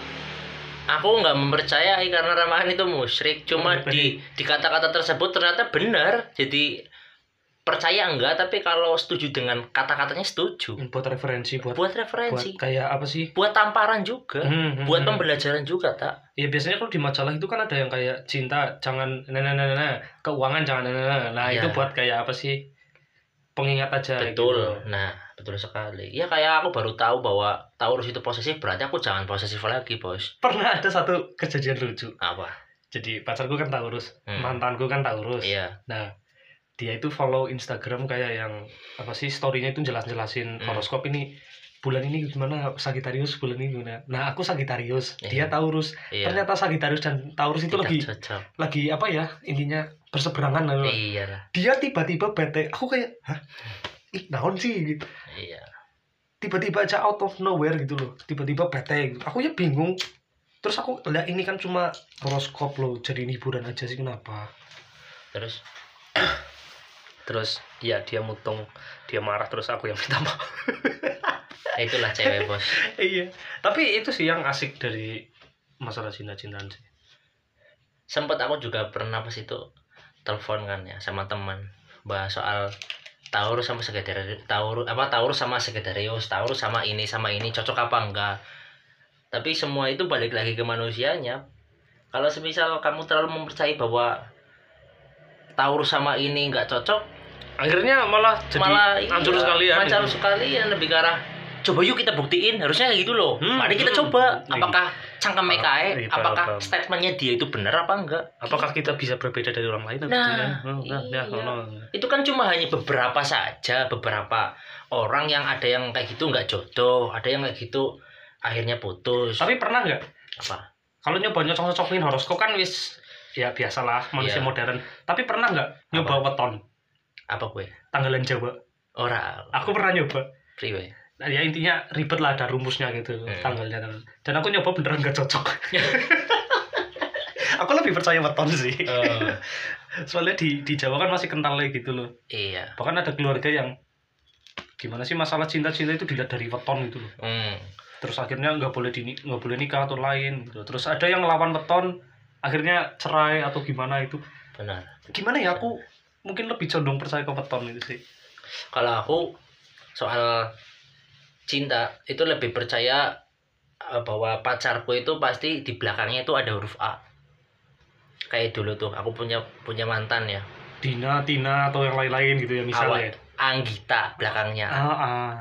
S2: aku nggak mempercayai karena ramalan itu musyrik cuma
S1: Oh,
S2: di di kata-kata tersebut ternyata benar jadi percaya enggak tapi kalau setuju dengan kata-katanya setuju
S1: Buat referensi, buat
S2: buat
S1: Iya. buat
S2: referensi buat,
S1: kayak apa sih?
S2: tamparan juga
S1: Hmm, hmm,
S2: buat
S1: hmm.
S2: pembelajaran juga tak
S1: Ya biasanya kalau di majalah itu kan ada yang kayak cinta jangan nah nah nah, nah, nah. keuangan jangan nah, nah, nah. Nah,
S2: Iya.
S1: itu buat kayak apa sih? Pengingat aja
S2: Betul.
S1: gitu.
S2: Nah, betul sekali. Ya kayak aku baru tahu bahwa Taurus itu posesif, berarti aku jangan posesif lagi, Bos.
S1: Pernah ada satu kejadian lucu.
S2: Apa?
S1: Jadi pacarku kan Taurus,
S2: Hmm.
S1: mantanku kan Taurus.
S2: Iya.
S1: Nah, dia itu follow Instagram kayak yang apa sih story-nya itu jelas-jelasin
S2: Hmm.
S1: horoskop ini bulan ini gimana Sagittarius bulan ini gimana. Nah, aku Sagittarius, dia
S2: Iya.
S1: Taurus.
S2: Iya.
S1: Ternyata Sagittarius dan Taurus itu
S2: Tidak
S1: lagi Hmm.
S2: cocok.
S1: lagi apa ya? Intinya berseberangan lah.
S2: Iya lah.
S1: Dia tiba-tiba bete. Aku kayak, "Hah? Ih, naon sih?" gitu.
S2: Iya.
S1: Tiba-tiba aja out of nowhere gitu loh. Tiba-tiba bete. Gitu. Aku ya bingung. Terus aku, lah ini kan cuma horoskop loh, jadi hiburan aja sih kenapa?
S2: Terus iya,
S1: Terus ya dia mutung, dia marah terus aku yang minta maaf.
S2: ya itulah cewek, Bos.
S1: iya tapi itu sih yang asik dari masalah cinta cintaan sih
S2: Sempet aku juga pernah pas itu telepon kan ya sama teman bahas soal Taurus sama Sagittarius Taurus apa Taurus sama Sagittarius Taurus sama ini sama ini cocok apa enggak tapi semua itu balik lagi ke manusianya kalau semisal kamu terlalu mempercayai bahwa Taurus sama ini nggak cocok
S1: akhirnya malah jadi
S2: malah
S1: hancur sekalian
S2: macam
S1: gitu.
S2: sekalian lebih ke arah coba yuk kita buktiin harusnya kayak gitu loh
S1: Hmm,
S2: mari kita
S1: hmm.
S2: coba
S1: Ih.
S2: apakah cangkem
S1: Paham,
S2: mekae
S1: ih, paham,
S2: apakah
S1: paham.
S2: statementnya dia itu benar apa enggak
S1: apakah kita bisa berbeda dari orang lain atau
S2: Nah,
S1: tidak? Oh, nah,
S2: iya.
S1: ya, oh, no.
S2: itu kan cuma hanya beberapa saja beberapa orang yang ada yang kayak gitu nggak jodoh ada yang kayak gitu akhirnya putus
S1: tapi pernah nggak
S2: apa
S1: kalau nyoba nyocok nyocokin horoskop kan wis ya biasalah manusia
S2: Iya.
S1: modern tapi pernah nggak nyoba weton
S2: apa gue
S1: tanggalan jawa
S2: ora
S1: aku pernah nyoba
S2: priwe
S1: Nah, ya intinya ribet lah ada rumusnya gitu
S2: Hmm.
S1: tanggalnya tanggal. dan aku nyoba beneran nggak cocok aku lebih percaya weton sih
S2: Eh,
S1: soalnya di di Jawa kan masih kental lagi gitu loh
S2: iya
S1: bahkan ada keluarga yang gimana sih masalah cinta-cinta itu dilihat dari weton gitu loh
S2: hmm.
S1: terus akhirnya nggak boleh di nggak boleh nikah atau lain gitu. terus ada yang lawan weton akhirnya cerai atau gimana itu
S2: benar
S1: gimana ya aku mungkin lebih condong percaya ke weton gitu sih
S2: kalau aku soal cinta itu lebih percaya eh, bahwa pacarku itu pasti di belakangnya itu ada huruf A kayak dulu tuh aku punya punya mantan ya
S1: Dina, Tina atau yang lain-lain gitu ya misalnya.
S2: Anggita belakangnya A.
S1: Ah, ah.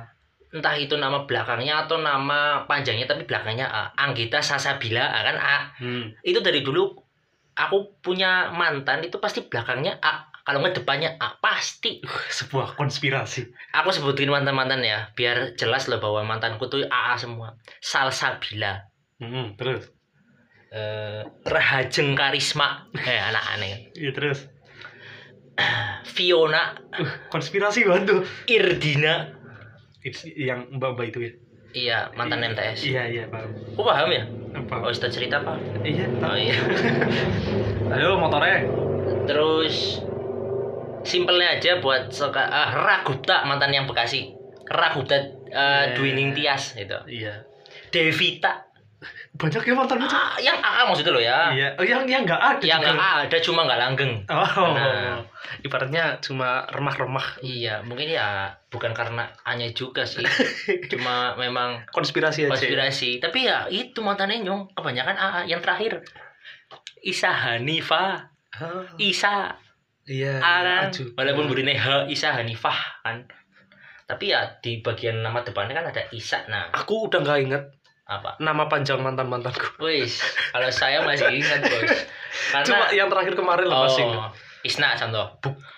S2: entah itu nama belakangnya atau nama panjangnya tapi belakangnya A. Anggita Sasabila A kan A
S1: Hmm.
S2: itu dari dulu aku punya mantan itu pasti belakangnya A kalau nggak depannya A pasti
S1: Sebuah konspirasi.
S2: aku sebutin mantan mantan ya biar jelas loh bahwa mantanku tuh AA semua Salsabila
S1: Hmm, terus.
S2: eh Rahajeng Karisma eh anak aneh
S1: Iya, terus.
S2: Fiona
S1: Konspirasi banget tuh.
S2: Irdina
S1: It's- yang Mbak-mbak itu ya.
S2: iya mantan MTS
S1: Iya, iya, paham.
S2: aku paham ya
S1: Paham.
S2: oh itu cerita pak
S1: Iya,
S2: oh iya
S1: Aduh, motornya.
S2: terus simpelnya aja buat seka, ah, Ragupta mantan yang Bekasi Ragupta eh,
S1: Eh.
S2: Dwining Tias itu
S1: Iya.
S2: Devita
S1: Banyak ya mantan pacar.
S2: Ah, yang AA maksudnya loh ya
S1: Iya, oh, yang yang enggak ada.
S2: yang
S1: juga.
S2: nggak ada cuma nggak langgeng
S1: Oh.
S2: Nah.
S1: Ibaratnya cuma remah-remah
S2: iya mungkin ya bukan karena hanya juga sih cuma memang
S1: konspirasi aja.
S2: konspirasi tapi ya itu mantannya nyong kebanyakan AA yang terakhir Isa Hanifah
S1: Ah,
S2: Isa
S1: iya.
S2: A kan
S1: Aju.
S2: walaupun burinya H Isa Hanifah kan tapi ya di bagian nama depannya kan ada Isa nah
S1: aku udah nggak inget
S2: apa
S1: nama panjang mantan mantanku.
S2: wis kalau saya masih ingat bos
S1: Cuma
S2: karena
S1: yang terakhir kemarin lah masih ingat.
S2: oh, Isna contoh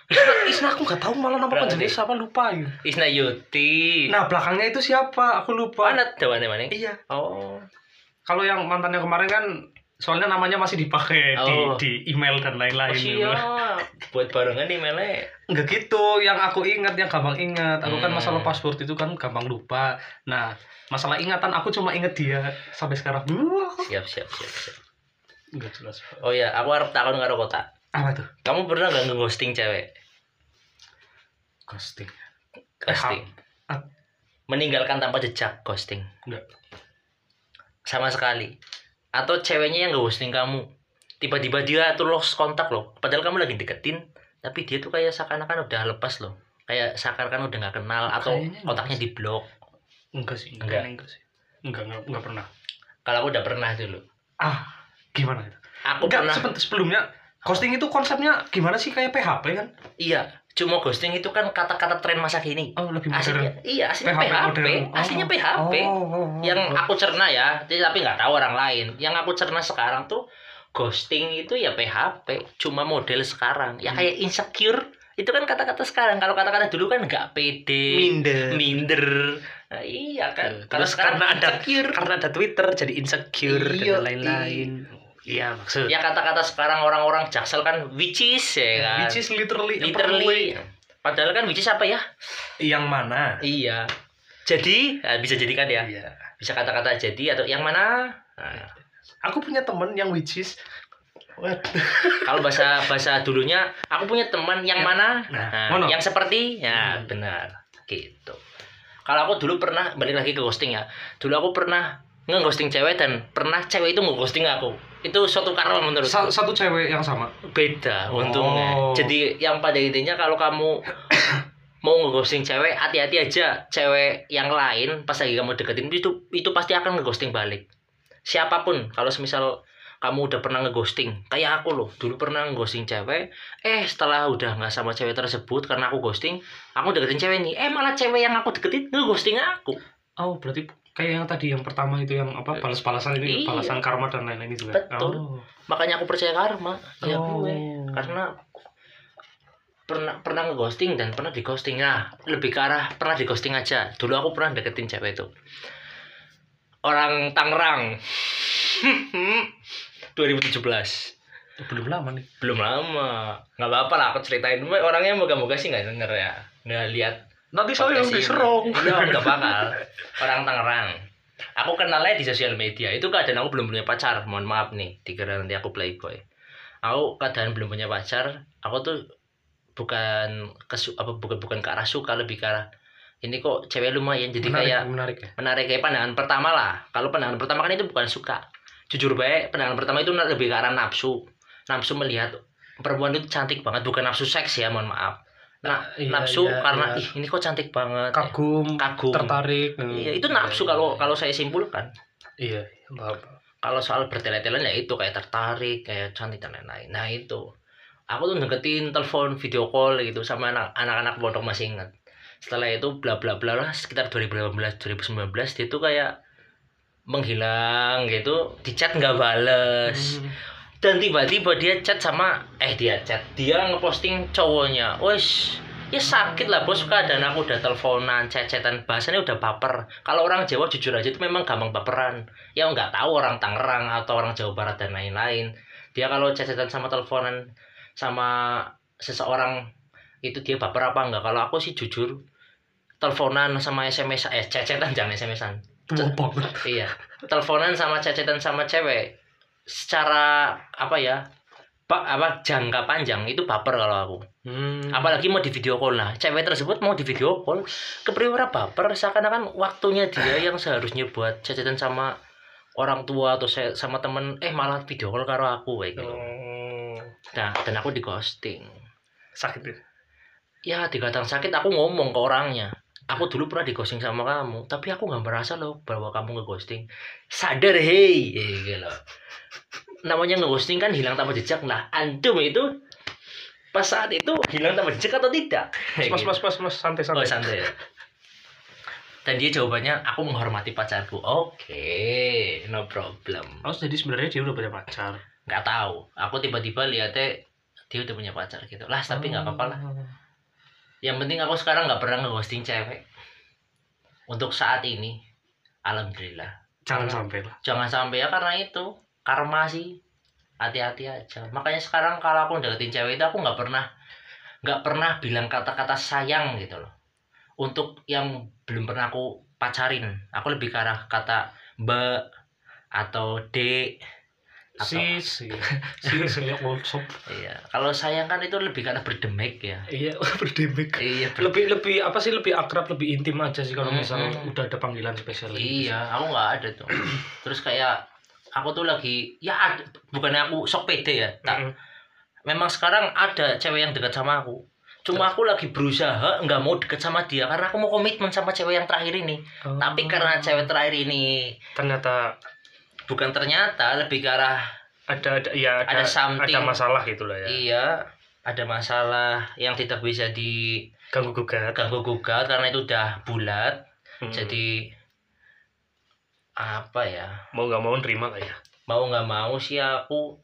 S1: Isna, Isna nah, aku nggak tahu malah nama
S2: Berarti.
S1: panjangnya siapa lupa. ya.
S2: Isna Yuti
S1: Nah belakangnya itu siapa? Aku lupa.
S2: mana dewannya mana
S1: Iya.
S2: oh
S1: Kalau yang mantannya kemarin kan soalnya namanya masih dipakai di,
S2: Oh.
S1: di email dan
S2: oh
S1: lain-lain.
S2: siap buat barengan nih mele
S1: Enggak gitu, yang aku ingat, yang gampang ingat. Aku kan
S2: Hmm.
S1: masalah password itu kan gampang lupa. Nah, masalah ingatan aku cuma inget dia sampai sekarang. Wah,
S2: siap siap siap, siap.
S1: enggak jelas.
S2: oh ya aku harap takon karo kota
S1: Apa tuh?
S2: kamu pernah nggak nge-ghosting cewek
S1: Ghosting.
S2: ghosting
S1: Ah.
S2: meninggalkan tanpa jejak ghosting
S1: Enggak.
S2: sama sekali atau ceweknya yang nggak ghosting kamu tiba-tiba dia tuh lost kontak loh padahal kamu lagi deketin tapi dia tuh kayak seakan-akan udah lepas loh kayak seakan-akan udah nggak kenal atau
S1: Kayaknya enggak
S2: kontaknya di blok
S1: Enggak sih, enggak,
S2: Enggak.
S1: enggak, sih. Enggak, enggak, enggak pernah.
S2: kalau aku udah pernah dulu
S1: Ah, gimana itu?
S2: aku
S1: Enggak,
S2: pernah
S1: sebentar sebelumnya ghosting itu konsepnya gimana sih kayak PHP kan?
S2: iya cuma ghosting itu kan kata-kata tren masa kini
S1: Oh, lebih modern.
S2: aslinya iya aslinya
S1: PHP
S2: PHP,
S1: modern. Oh.
S2: aslinya PHP
S1: Oh, oh, oh.
S2: yang aku cerna ya tapi nggak tahu orang lain yang aku cerna sekarang tuh ghosting itu ya PHP cuma model sekarang ya
S1: Hmm.
S2: kayak insecure itu kan kata-kata sekarang kalau kata-kata dulu kan nggak pede
S1: minder.
S2: minder Nah, iya kan
S1: Tuh,
S2: kalau
S1: terus
S2: sekarang
S1: karena ada-
S2: insecure
S1: Karena ada Twitter jadi insecure
S2: Iya,
S1: dan lain-lain. Iya, maksud.
S2: ya kata-kata sekarang orang-orang jaksel kan which is ya kan
S1: Nah, Which is literally,
S2: literally padahal kan which is apa ya
S1: yang mana?
S2: iya jadi nah, bisa jadi kan ya
S1: Iya.
S2: bisa kata-kata jadi atau yang mana Nah,
S1: Aku punya temen yang which is What?
S2: kalau bahasa bahasa dulunya aku punya teman
S1: Ya.
S2: yang mana
S1: Nah,
S2: Nah,
S1: ngono.
S2: yang seperti ya
S1: Hmm.
S2: benar gitu kalau aku dulu pernah balik lagi ke ghosting ya dulu aku pernah nge-ghosting cewek dan pernah cewek itu nge-ghosting aku itu suatu karma menurut
S1: Sa- satu cewek yang sama.
S2: beda
S1: Oh.
S2: untungnya jadi yang pada intinya kalau kamu mau nge-ghosting cewek hati-hati aja cewek yang lain pas lagi kamu deketin itu itu pasti akan nge-ghosting balik siapapun kalau semisal kamu udah pernah nge-ghosting kayak aku loh dulu pernah nge-ghosting cewek eh setelah udah nggak sama cewek tersebut karena aku ghosting aku deketin cewek nih eh malah cewek yang aku deketin nge-ghosting aku
S1: Oh, berarti kayak yang tadi yang pertama itu yang apa balas-balasan itu
S2: Iya.
S1: balasan karma dan lain-lain itu kan.
S2: Betul.
S1: Oh.
S2: makanya aku percaya karma ya
S1: Oh.
S2: gue karena pernah pernah ngeghosting dan pernah dighosting nah lebih ke arah pernah dighosting aja dulu aku pernah deketin cewek itu orang Tangerang 2017
S1: belum lama nih.
S2: belum lama nggak apa-apa lah aku ceritain Weh, orangnya moga-moga sih nggak denger ya nggak lihat
S1: Nanti saya yang
S2: podcast ini.
S1: diserong.
S2: Iya, nggak bakal orang Tangerang aku kenalnya di sosial media itu keadaan aku belum punya pacar mohon maaf nih dikira nanti aku playboy aku keadaan belum punya pacar aku tuh bukan kesu apa bukan bukan ke arah suka lebih ke arah ini kok cewek lumayan jadi
S1: menarik,
S2: kayak
S1: menarik ya.
S2: menarik kayak pandangan pertama lah kalau pandangan pertama kan itu bukan suka jujur baik pandangan pertama itu lebih ke arah nafsu nafsu melihat perempuan itu cantik banget bukan nafsu seks ya mohon maaf nah
S1: Iya,
S2: nafsu
S1: iya,
S2: karena
S1: iya.
S2: ih ini kok cantik banget ya,
S1: kagum,
S2: kagum
S1: tertarik. hmm.
S2: iya itu nafsu kalau kalau saya simpulkan
S1: Iya, nggak apa.
S2: kalau soal bertele-tele ya itu kayak tertarik kayak cantik dan lain-lain nah itu aku tuh deketin telepon video call gitu sama anak- anak-anak pondok masih ingat setelah itu bla bla bla lah sekitar 2018 2019 dia tuh kayak menghilang gitu di chat nggak bales
S1: Hmm.
S2: dan tiba-tiba dia chat sama eh dia chat dia ngeposting cowoknya wes ya sakit lah bos keadaan aku udah teleponan chat-chatan bahasanya udah baper kalau orang Jawa jujur aja itu memang gampang baperan ya nggak tahu orang Tangerang atau orang Jawa Barat dan lain-lain dia kalau chat-chatan sama teleponan sama seseorang itu dia baper apa enggak kalau aku sih jujur teleponan sama SMS eh chat-chatan jangan SMS-an
S1: tua banget
S2: iya teleponan sama cacetan sama cewek secara apa ya pak apa jangka panjang itu baper kalau aku
S1: Hmm.
S2: apalagi mau di video call lah cewek tersebut mau di video call kepriwara baper seakan-akan waktunya dia yang seharusnya buat cacetan sama orang tua atau se- sama temen eh malah video call karo aku kayak gitu
S1: Oh,
S2: nah dan aku di ghosting
S1: sakit ya
S2: ya dikatakan sakit aku ngomong ke orangnya aku dulu pernah digosting sama kamu tapi aku nggak merasa loh bahwa kamu ngeghosting sadar hei Ya, gitu loh. namanya ngeghosting kan hilang tanpa jejak nah antum itu pas saat itu hilang tanpa jejak atau tidak Kayak
S1: mas
S2: gitu.
S1: mas mas mas santai santai
S2: Oh, santai ya. dan dia jawabannya aku menghormati pacarku oke no problem
S1: Oh, jadi sebenarnya dia udah punya pacar.
S2: nggak tahu aku tiba-tiba lihatnya dia udah punya pacar gitu lah
S1: Oh.
S2: tapi nggak apa-apa lah Yang penting aku sekarang nggak pernah ngeghosting cewek. Untuk saat ini, alhamdulillah.
S1: Jangan sampai lah.
S2: Jangan sampai ya karena itu karma sih. Hati-hati aja. Makanya sekarang kalau aku deketin cewek itu aku nggak pernah nggak pernah bilang kata-kata sayang gitu loh. Untuk yang belum pernah aku pacarin, aku lebih ke arah kata mbak atau dek atau
S1: Si si si saya iya. workshop.
S2: iya. Kalau sayang kan itu lebih karena berdemek ya.
S1: Iya, berdebek.
S2: Iya, ber-
S1: Lebih lebih apa sih lebih akrab, lebih intim aja sih kalau misalnya
S2: Mm-mm.
S1: udah ada panggilan spesial. gitu lagi.
S2: Iya, aku nggak ada tuh. Terus kayak aku tuh lagi ya ad- bukannya aku sok pede ya. tak-
S1: Mm-mm.
S2: Memang sekarang ada cewek yang dekat sama aku. Cuma aku lagi berusaha nggak mau deket sama dia karena aku mau komitmen sama cewek yang terakhir ini.
S1: Oh.
S2: Tapi karena cewek terakhir ini
S1: ternyata
S2: bukan ternyata lebih ke arah
S1: ada ada ya ada
S2: Ada
S1: ada,
S2: something.
S1: masalah gitulah ya.
S2: iya ada masalah yang tidak bisa diganggu
S1: Ganggu gugat.
S2: gugat karena itu udah bulat.
S1: Mm.
S2: Jadi apa ya?
S1: mau nggak mau nerima lah ya.
S2: mau nggak mau sih aku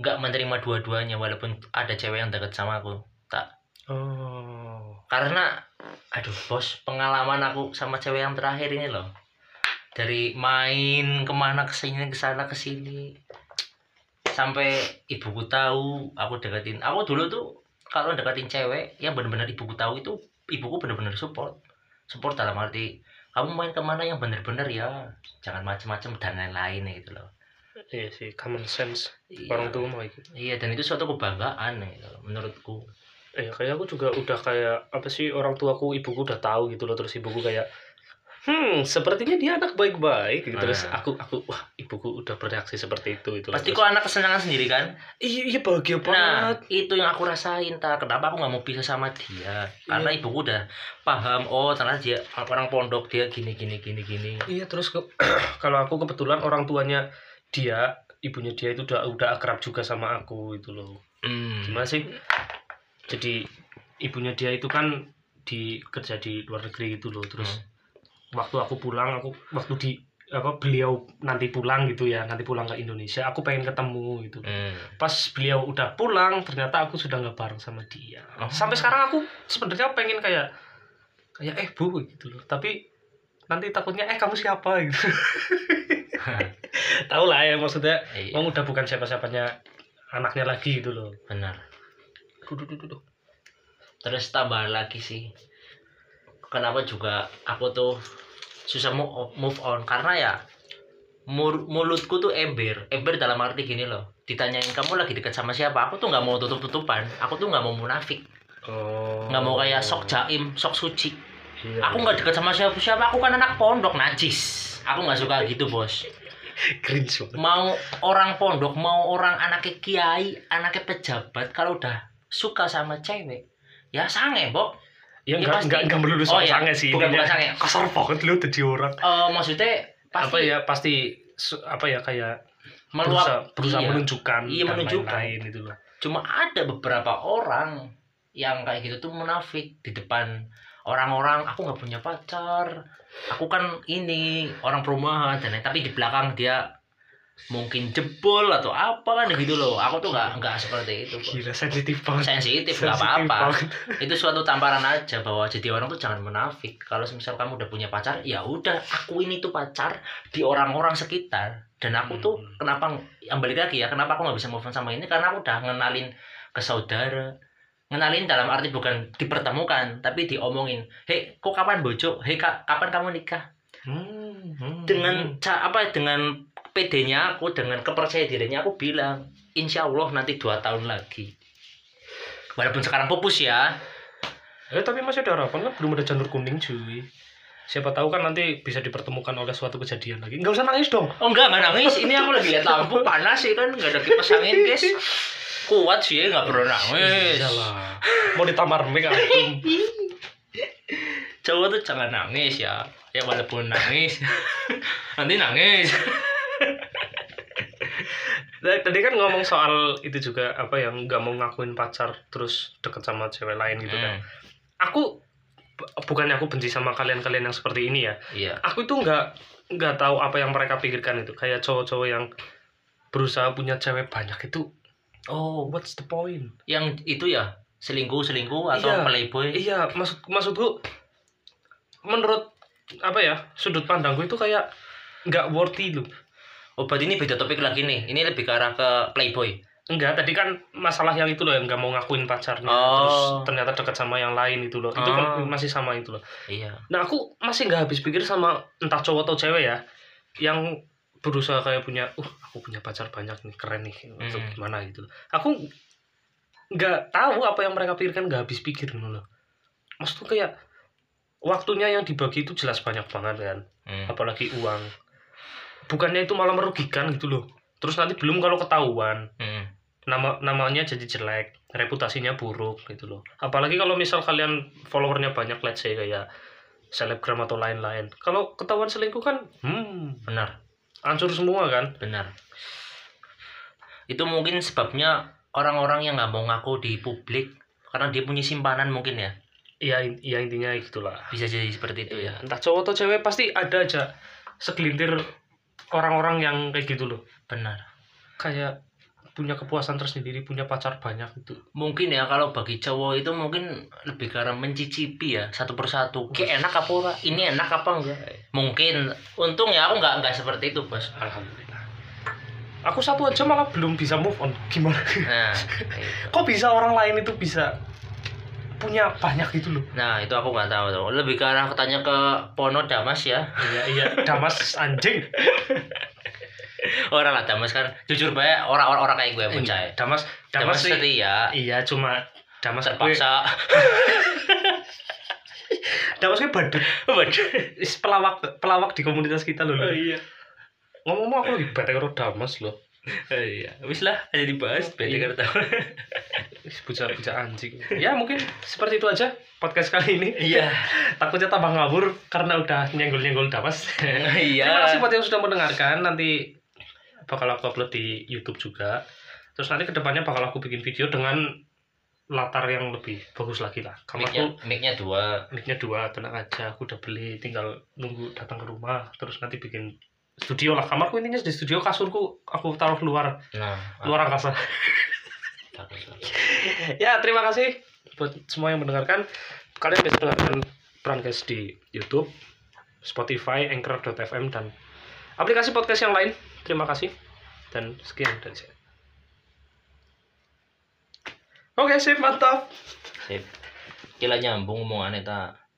S2: nggak menerima dua-duanya walaupun ada cewek yang deket sama aku tak
S1: Oh.
S2: karena aduh bos pengalaman aku sama cewek yang terakhir ini loh dari main kemana kesini kesana kesini sampai ibuku tahu aku deketin aku dulu tuh kalau deketin cewek yang benar-benar ibuku tahu itu ibuku benar-benar support support dalam arti kamu main kemana yang benar-benar ya jangan macem-macem dan lain-lain gitu loh
S1: Iya sih, common sense
S2: Iya.
S1: orang tua mau gitu.
S2: Iya dan itu suatu kebanggaan gitu loh, menurutku.
S1: Eh, kayak aku juga udah kayak apa sih orang tuaku, ibuku udah tahu gitu loh terus ibuku kayak Hmm, sepertinya dia anak baik-baik gitu. Terus
S2: Ah.
S1: aku aku wah, ibuku udah bereaksi seperti itu itu.
S2: Pasti kok anak kesenangan sendiri kan?
S1: Iya, iya bahagia
S2: Nah
S1: banget.
S2: itu yang aku rasain tak kenapa aku nggak mau pisah sama dia karena ibuku udah paham oh ternyata dia orang pondok dia gini gini gini gini.
S1: Iya, terus ke, kalau aku kebetulan orang tuanya dia, ibunya dia itu udah udah akrab juga sama aku itu loh.
S2: Hmm.
S1: gimana sih jadi ibunya dia itu kan di kerja di luar negeri gitu loh terus
S2: Hmm.
S1: waktu aku pulang aku waktu di apa beliau nanti pulang gitu ya nanti pulang ke Indonesia aku pengen ketemu gitu
S2: Hmm.
S1: pas beliau udah pulang ternyata aku sudah nggak bareng sama dia
S2: Oh.
S1: sampai sekarang aku sebenarnya pengen kayak kayak eh bu gitu loh tapi nanti takutnya eh kamu siapa gitu tau lah ya maksudnya
S2: Iya,
S1: mau udah bukan siapa-siapanya anaknya lagi gitu loh
S2: benar.
S1: Duh, duh, duh, duh, duh.
S2: Terus tambah lagi sih kenapa juga aku tuh susah move on, move on. karena ya mur- mulutku tuh ember ember dalam arti gini loh ditanyain kamu lagi deket sama siapa aku tuh nggak mau tutup tutupan aku tuh nggak mau munafik
S1: Oh.
S2: nggak mau kayak sok jaim sok suci
S1: Iya.
S2: aku nggak deket sama siapa siapa aku kan anak pondok najis aku nggak suka gitu bos
S1: cringe banget. Ya,
S2: mau orang pondok mau orang anaknya kiai anaknya pejabat kalau udah suka sama cewek ya sange Bob
S1: Ya
S2: Ya,
S1: enggak
S2: pasti.
S1: enggak enggak melulu
S2: Oh,
S1: sama
S2: iya.
S1: sange sih.
S2: Bukan-
S1: intinya.
S2: bukan sange.
S1: Kasar banget lu jadi orang.
S2: Eh, maksudnya
S1: Apa
S2: pasti
S1: ya pasti su- apa ya kayak
S2: meluap
S1: berusaha, berusaha
S2: iya.
S1: menunjukkan
S2: Iya, menunjukkan.
S1: lain-lain itu loh.
S2: cuma ada beberapa orang yang kayak gitu tuh munafik di depan orang-orang aku nggak punya pacar aku kan ini orang perumahan dan lain- tapi di belakang dia mungkin jebol atau apa kan gitu loh aku tuh nggak nggak seperti itu Bos.
S1: Gila sensitif banget.
S2: sensitif nggak
S1: Sensitif
S2: apa-apa
S1: banget.
S2: itu suatu tamparan aja bahwa jadi orang tuh jangan munafik kalau misal kamu udah punya pacar ya udah aku ini tuh pacar di orang-orang sekitar dan aku tuh
S1: Hmm.
S2: kenapa yang balik lagi ya kenapa aku nggak bisa move on sama ini karena aku udah ngenalin ke saudara ngenalin dalam arti bukan dipertemukan tapi diomongin hei kok kapan bojo hei Kak, kapan kamu nikah
S1: Hmm, hmm,
S2: dengan ca- apa dengan PD-nya aku dengan kepercayaan dirinya aku bilang insya Allah nanti dua tahun lagi walaupun sekarang pupus ya
S1: hmm. Eh, tapi masih ada harapan kan belum ada janur kuning cuy. Siapa tahu kan nanti bisa dipertemukan oleh suatu kejadian lagi. Enggak usah nangis dong.
S2: oh enggak enggak nangis ini aku lagi lihat lampu panas sih kan enggak ada kipas angin guys kuat sih enggak perlu nangis
S1: Iyalah. Mau ditamar mic antum.
S2: cowok tuh jangan nangis ya ya walaupun nangis nanti nangis
S1: Nah, tadi kan ngomong soal itu juga apa yang nggak mau ngakuin pacar terus deket sama cewek lain gitu kan.
S2: Hmm,
S1: Aku bu- bukannya aku benci sama kalian-kalian yang seperti ini ya.
S2: iya
S1: aku itu nggak nggak tahu apa yang mereka pikirkan itu kayak cowok-cowok yang berusaha punya cewek banyak itu oh what's the point
S2: yang itu ya selingkuh selingkuh atau
S1: Iya.
S2: playboy
S1: iya maksud maksudku menurut apa ya sudut pandangku itu kayak nggak worthy loh
S2: obat Oh, ini beda topik lagi nih ini lebih ke arah ke playboy
S1: enggak tadi kan masalah yang itu loh yang nggak mau ngakuin pacarnya
S2: Oh.
S1: terus ternyata dekat sama yang lain itu loh itu kan
S2: Oh.
S1: masih sama itu loh
S2: iya
S1: nah aku masih nggak habis pikir sama entah cowok atau cewek ya yang berusaha kayak punya uh aku punya pacar banyak nih keren nih atau
S2: Hmm.
S1: gimana gitu loh. aku nggak tahu apa yang mereka pikirkan nggak habis pikir gitu loh maksudku kayak waktunya yang dibagi itu jelas banyak banget kan
S2: Hmm.
S1: apalagi uang bukannya itu malah merugikan gitu loh terus nanti belum kalau ketahuan
S2: Hmm.
S1: nama namanya jadi jelek reputasinya buruk gitu loh apalagi kalau misal kalian followernya banyak let's say kayak selebgram atau lain-lain kalau ketahuan selingkuh kan hmm
S2: benar
S1: hancur semua kan
S2: benar itu mungkin sebabnya orang-orang yang nggak mau ngaku di publik karena dia punya simpanan mungkin ya
S1: ya, in- ya intinya gitulah Iya,
S2: bisa jadi seperti itu ya
S1: entah cowok atau cewek pasti ada aja segelintir orang-orang yang kayak gitu loh
S2: benar
S1: kayak punya kepuasan tersendiri punya pacar banyak gitu
S2: mungkin ya kalau bagi cowok itu mungkin lebih karena mencicipi ya satu persatu kayak enak apa ora? ini enak apa enggak
S1: Eh.
S2: mungkin untung ya aku nggak nggak seperti itu bos
S1: alhamdulillah aku satu aja malah belum bisa move on gimana
S2: nah itu.
S1: kok bisa orang lain itu bisa punya banyak gitu loh
S2: nah itu aku nggak tahu tuh lebih ke arah tanya ke Pono Damas ya
S1: iya iya damas anjing
S2: orang lah Damas kan jujur banyak orang-orang orang kayak gue percaya
S1: damas Eh, iya. damas,
S2: Iya, Damas
S1: sih
S2: setia
S1: iya cuma damas gue-
S2: terpaksa
S1: damas gue badut Is pelawak pelawak di komunitas kita loh Lur.
S2: Oh, iya
S1: ngomong-ngomong aku lagi bete karo damas loh
S2: Oh, iya wis lah ada dibahas beda
S1: Iya.
S2: kartu
S1: bocah-bocah anjing ya mungkin seperti itu aja podcast kali ini
S2: iya
S1: takutnya tambah ngawur karena udah nyenggol-nyenggol damas
S2: iya
S1: Terima kasih buat yang sudah mendengarkan. Nanti bakal aku upload di YouTube juga. Terus nanti kedepannya bakal aku bikin video dengan latar yang lebih bagus lagi lah.
S2: Mic-nya,
S1: Kamarku
S2: mic-nya dua
S1: mic-nya dua, tenang aja. Aku udah beli, tinggal nunggu datang ke rumah. Terus nanti bikin studio lah. Kamarku intinya di studio, kasurku aku taruh luar,
S2: nah
S1: luar angkasa.
S2: bagus, bagus.
S1: ya terima kasih buat semua yang mendengarkan. Kalian bisa dengarkan Prankes di YouTube, Spotify, Anchor.fm dan aplikasi podcast yang lain. Terima kasih dan sekian dari saya. Oke, sip, mantap.
S2: sip kira nyambung omongannya tak